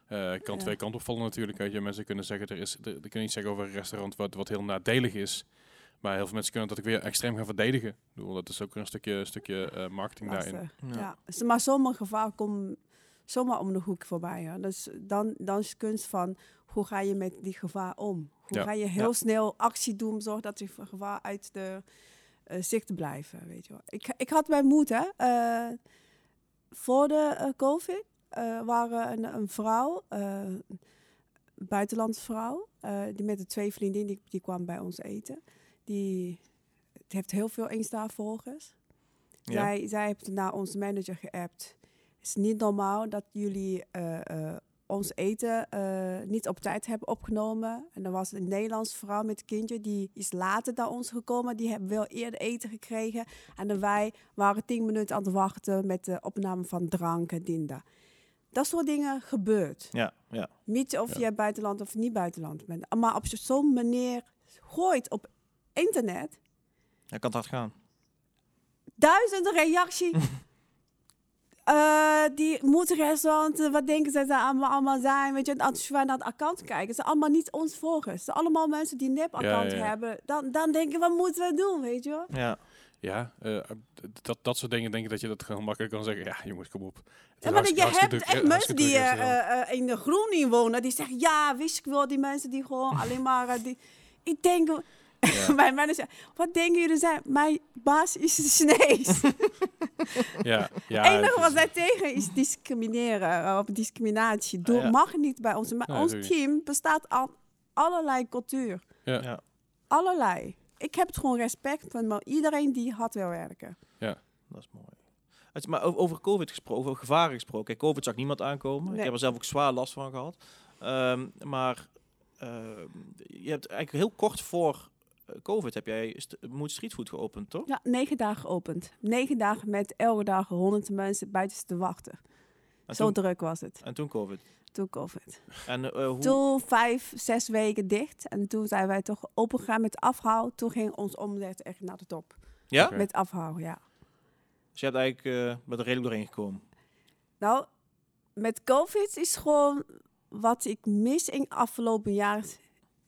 Speaker 2: Eh, kan
Speaker 1: Ja.
Speaker 2: twee kanten opvallen natuurlijk. Weet je. Mensen kunnen zeggen, er is, er, er kunnen iets zeggen over een restaurant wat, wat heel nadelig is. Maar heel veel mensen kunnen dat ook weer extreem gaan verdedigen. Ik bedoel, dat is ook weer een stukje, stukje eh, marketing daarin.
Speaker 1: Lastig. Ja. S- Maar sommige gevaar komt zomaar om de hoek voorbij. Hè. Dus dan, dan is het kunst van hoe ga je met die gevaar om? Hoe
Speaker 2: Ja.
Speaker 1: ga je heel
Speaker 3: Ja.
Speaker 1: snel actie doen, zorg dat die gevaar uit de eh, zicht blijven? Weet je wel. Ik, ik had mijn moed, hè. eh, voor de eh, COVID eh, waren een, een vrouw, eh, een buitenlandse vrouw, eh, die met de twee vriendinnen, die, die kwam bij ons eten. Die het heeft heel veel dus. Insta-volgers.
Speaker 3: Ja.
Speaker 1: Zij, zij heeft naar onze manager geappt. Het is niet normaal dat jullie eh, eh, ons eten eh, niet op tijd hebben opgenomen. En er was een Nederlands vrouw met een kindje, die is later dan ons gekomen. Die hebben wel eerder eten gekregen. En dan wij waren tien minuten aan het wachten met de opname van drank en dinda. Dat soort dingen gebeurt.
Speaker 3: Ja, ja.
Speaker 1: Niet of
Speaker 2: Ja.
Speaker 1: je buitenland of niet buitenland bent. Maar op zo'n manier gooit op internet
Speaker 3: Dat kan het hard gaan.
Speaker 1: duizenden reactie. Eh, die moeten restaurant, eh, wat denken ze daar allemaal, allemaal zijn? Weet je, en als je naar het account kijkt, het zijn allemaal niet ons volgers. Het zijn allemaal mensen die een nep-account
Speaker 2: Ja, ja, ja.
Speaker 1: hebben. Dan, dan denken we, wat moeten we doen, weet je wel?
Speaker 3: Ja.
Speaker 2: Ja, eh, dat, dat soort dingen denk ik dat je dat gewoon makkelijk kan zeggen. Ja, jongens, kom op. Het is
Speaker 1: Ja, maar
Speaker 2: hartstikke-
Speaker 1: je hebt
Speaker 2: hartstikke druk-
Speaker 1: echt mensen
Speaker 2: hartstikke
Speaker 1: die
Speaker 2: druk in het
Speaker 1: eh, eh, eh, in de Groening wonen, die zeggen, ja, wist ik wel, die mensen die gewoon alleen maar... eh, die... Ik denk,
Speaker 2: restaurant. Ja.
Speaker 1: mijn manager, wat denken jullie zijn? Mijn baas is Chinees.
Speaker 2: Ja, ja,
Speaker 1: eh, Het enige
Speaker 2: dus- het is-
Speaker 1: wat wij tegen is discrimineren, eh, of discriminatie. Door
Speaker 3: ja.
Speaker 1: mag niet bij ons. Maar
Speaker 2: Ah, Nee,
Speaker 1: ons
Speaker 2: sowieso.
Speaker 1: team bestaat aan allerlei cultuur.
Speaker 2: Ja.
Speaker 3: Ja.
Speaker 1: Allerlei. Ik heb het gewoon respect van maar iedereen die hard wil werken.
Speaker 3: Dat is mooi. Het is maar o- over COVID gesproken, over gevaren gesproken. Kijk, COVID zag niemand aankomen. Ik
Speaker 1: Nee.
Speaker 3: heb er zelf ook zwaar last van gehad. Ehm, maar ehm, je hebt eigenlijk heel kort voor eh, COVID heb jij st Moed Streetfood geopend, toch?
Speaker 1: Ja, negen dagen geopend. Negen dagen met elke dag honderd mensen buiten te wachten.
Speaker 3: En
Speaker 1: Zo
Speaker 3: toen,
Speaker 1: druk was het
Speaker 3: en toen COVID.
Speaker 1: toen COVID.
Speaker 3: En eh, hoe?
Speaker 1: Toen vijf, zes weken dicht. En toen zijn wij toch open gegaan met afhaal. Toen ging ons omzet echt naar de top.
Speaker 3: Ja?
Speaker 2: Oké.
Speaker 1: Met afhaal, ja.
Speaker 3: Dus je hebt eigenlijk eh bent er redelijk doorheen gekomen.
Speaker 1: Nou, met COVID is gewoon wat ik mis in afgelopen jaar.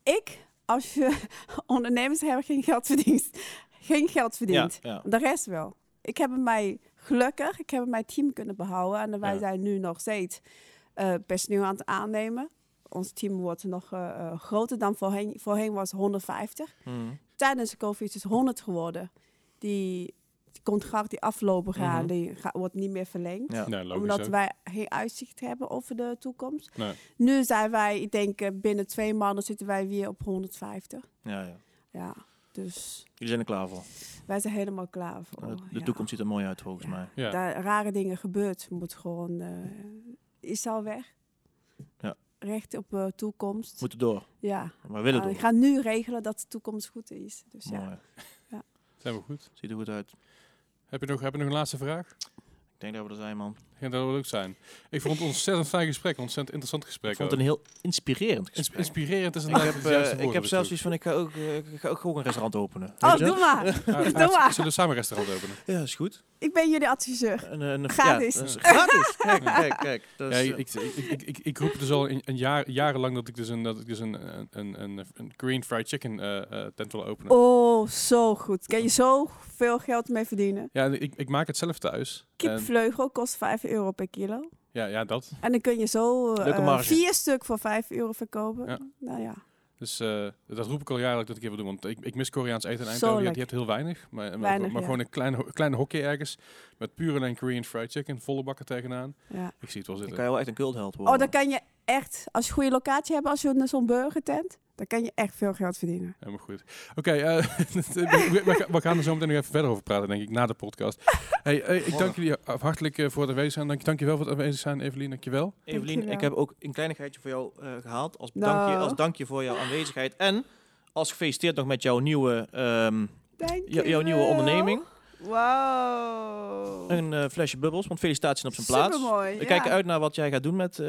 Speaker 1: Ik, als je ondernemers hebben geen geld verdiend. Geen geld
Speaker 3: Ja,
Speaker 1: verdiend.
Speaker 3: ja.
Speaker 1: De rest wel. Ik heb mij gelukkig, ik heb mijn team kunnen behouden. En wij
Speaker 2: Ja.
Speaker 1: zijn nu nog steeds eh personeel aan het aannemen. Ons team wordt nog eh, eh, groter dan voorheen. Voorheen was 150
Speaker 3: Mhm.
Speaker 1: tijdens de COVID is 100 geworden. Die, die contract die aflopen gaat,
Speaker 3: Mhm.
Speaker 1: die ga- wordt niet meer verlengd.
Speaker 3: Ja.
Speaker 2: Nee, Nou, logisch
Speaker 1: omdat
Speaker 2: ook.
Speaker 1: wij geen uitzicht hebben over de toekomst.
Speaker 2: Nee.
Speaker 1: Nu zijn wij, ik denk eh, binnen twee maanden zitten wij weer op 150.
Speaker 3: ja, ja.
Speaker 1: Ja, dus
Speaker 3: Jullie zijn er klaar voor.
Speaker 1: wij zijn helemaal klaar voor.
Speaker 3: de de
Speaker 1: Oh, ja.
Speaker 3: toekomst ziet er mooi uit volgens
Speaker 1: Ja.
Speaker 3: mij.
Speaker 2: Ja.
Speaker 1: Daar rare dingen gebeurt, moet gewoon... eh, is al weg.
Speaker 3: Ja.
Speaker 1: Recht op eh, toekomst.
Speaker 3: We moeten door.
Speaker 1: ja,
Speaker 3: Maar we willen
Speaker 1: Ah,
Speaker 3: door.
Speaker 1: ik ga nu regelen dat de toekomst goed is. Dus ja.
Speaker 3: Mooi.
Speaker 2: Zijn we goed?
Speaker 3: Ziet er goed uit.
Speaker 2: Heb je nog, heb je nog een laatste vraag?
Speaker 3: Ik denk dat we er zijn, man.
Speaker 2: Ja, dat wil leuk zijn. Ik vond het een ontzettend fijn gesprek, een ontzettend interessant gesprek. eh,
Speaker 3: Ik vond het
Speaker 2: ook.
Speaker 3: een heel inspirerend
Speaker 2: Ins-
Speaker 3: gesprek.
Speaker 2: Inspirerend is
Speaker 3: Ik
Speaker 2: inderdaad
Speaker 3: heb,
Speaker 2: het
Speaker 3: eh,
Speaker 2: juiste
Speaker 3: ik
Speaker 2: woord
Speaker 3: heb
Speaker 2: op
Speaker 3: zelfs
Speaker 2: dit
Speaker 3: iets van, ik ga ook, eh, ik ga ook gewoon een restaurant openen.
Speaker 1: Oh,
Speaker 3: Weet je?
Speaker 1: doe maar.
Speaker 2: moment. Ah,
Speaker 1: Doe
Speaker 2: ah,
Speaker 1: maar.
Speaker 2: Zullen we samen een restaurant openen?
Speaker 3: Ja, is goed.
Speaker 1: Ik ben jullie adviseur.
Speaker 3: Een, een, een-
Speaker 1: Gratis.
Speaker 3: Ja, dat is gratis. Kijk, kijk, kijk. Dat
Speaker 2: Ja,
Speaker 3: is, eh,
Speaker 2: ik, ik, ik, ik, ik roep dus al een, een jaar, jarenlang dat ik dus een, dat ik dus een, een, een, een, een Korean fried chicken eh, eh, tent wil openen.
Speaker 1: Oh, zo goed. Kan je zoveel geld mee verdienen?
Speaker 2: Ja, ik, ik maak het zelf thuis. En-
Speaker 1: Kipvleugel kost 5 euro per kilo.
Speaker 2: ja, ja, dat.
Speaker 1: En dan kun je zo eh,
Speaker 3: Leuke marge.
Speaker 1: vier stuk voor 5 euro verkopen.
Speaker 2: Ja.
Speaker 1: Nou ja.
Speaker 2: Dus eh, dat roep ik al jaarlijk dat ik even doe. Want ik, ik mis Koreaans eten in
Speaker 1: Zo
Speaker 2: Eindhoven. Je,
Speaker 1: lekker.
Speaker 2: je hebt heel weinig. Maar, maar-
Speaker 1: Weinig,
Speaker 2: maar,
Speaker 1: ja.
Speaker 2: gewoon een klein, ho- klein hokje ergens. Met puur en Korean fried chicken. Volle bakken tegenaan.
Speaker 1: ja.
Speaker 2: Ik zie het wel
Speaker 3: dan
Speaker 2: zitten.
Speaker 3: kan je wel echt een cultheld worden.
Speaker 1: Oh, dan kan je echt, als je een goede locatie hebt, als je een- zo'n burgertent, dan kan je echt veel geld verdienen.
Speaker 2: Helemaal goed. Oké, eh, we, we gaan- we gaan er zo meteen nog even verder over praten, denk ik, na de podcast. Hey, eh, ik dank jullie hartelijk eh, voor het aanwezig zijn. Dank, dank je wel voor het aanwezig zijn, Evelien. Dank je wel.
Speaker 3: Evelien,
Speaker 1: Dankjewel.
Speaker 3: ik heb ook een kleinigheidje voor jou eh, gehaald. Als
Speaker 1: Nou.
Speaker 3: dankje, als dankje voor jouw aanwezigheid. En als gefeliciteerd nog met jouw nieuwe, ehm,
Speaker 1: Dank
Speaker 3: jou-
Speaker 1: je
Speaker 3: jouw nieuwe
Speaker 1: wel.
Speaker 3: onderneming.
Speaker 1: Wauw.
Speaker 3: Een eh, flesje bubbels, want felicitaties op zijn plaats.
Speaker 1: Supermooi,
Speaker 3: We
Speaker 1: ja.
Speaker 3: kijken uit naar wat jij gaat doen met eh,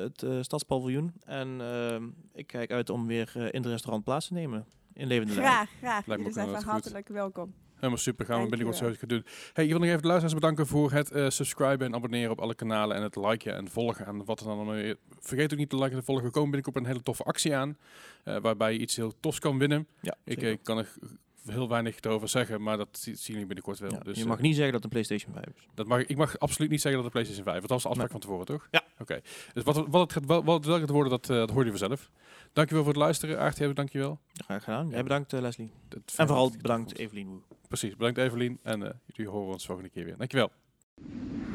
Speaker 3: het eh, stadspaviljoen. En ehm, ik kijk uit om weer eh, in het restaurant plaats te nemen. In levende lijn.
Speaker 1: Graag, graag.
Speaker 2: me
Speaker 1: Jullie
Speaker 2: ook
Speaker 1: zijn
Speaker 2: wel
Speaker 1: van
Speaker 2: goed.
Speaker 1: hartelijk welkom.
Speaker 2: Helemaal super. Gaan we
Speaker 1: Dank je
Speaker 2: binnenkort zo
Speaker 1: wel.
Speaker 2: eens gaan doen. Hey, ik wil nog even de luisteraars bedanken voor het eh, subscriben en abonneren op alle kanalen. En het liken en volgen en wat er dan allemaal weer- Vergeet ook niet te liken en te volgen. We komen binnenkort een hele toffe actie aan. eh, waarbij je iets heel tofs kan winnen.
Speaker 3: Ja,
Speaker 2: Ik
Speaker 3: zeker.
Speaker 2: eh, kan er heel weinig over zeggen, maar dat zi- zien jullie binnenkort wel.
Speaker 3: Ja,
Speaker 2: dus,
Speaker 3: je
Speaker 2: eh,
Speaker 3: mag niet zeggen dat het een PlayStation 5 is.
Speaker 2: Dat mag, ik mag absoluut niet zeggen dat het PlayStation 5 is. Dat was de afspraak van tevoren, toch?
Speaker 3: Ja.
Speaker 2: Oké. Dus wat, wat het gaat, wat, wat welke het worden, dat, eh dat hoor je vanzelf. Dankjewel voor het luisteren. Aart, jij dankjewel.
Speaker 3: Graag gedaan. Jij bedankt eh, Leslie.
Speaker 2: Het-
Speaker 3: En vooral bedankt Evelien Woe.
Speaker 2: Precies. Bedankt Evelien. En eh, jullie horen ons volgende keer weer. Dankjewel.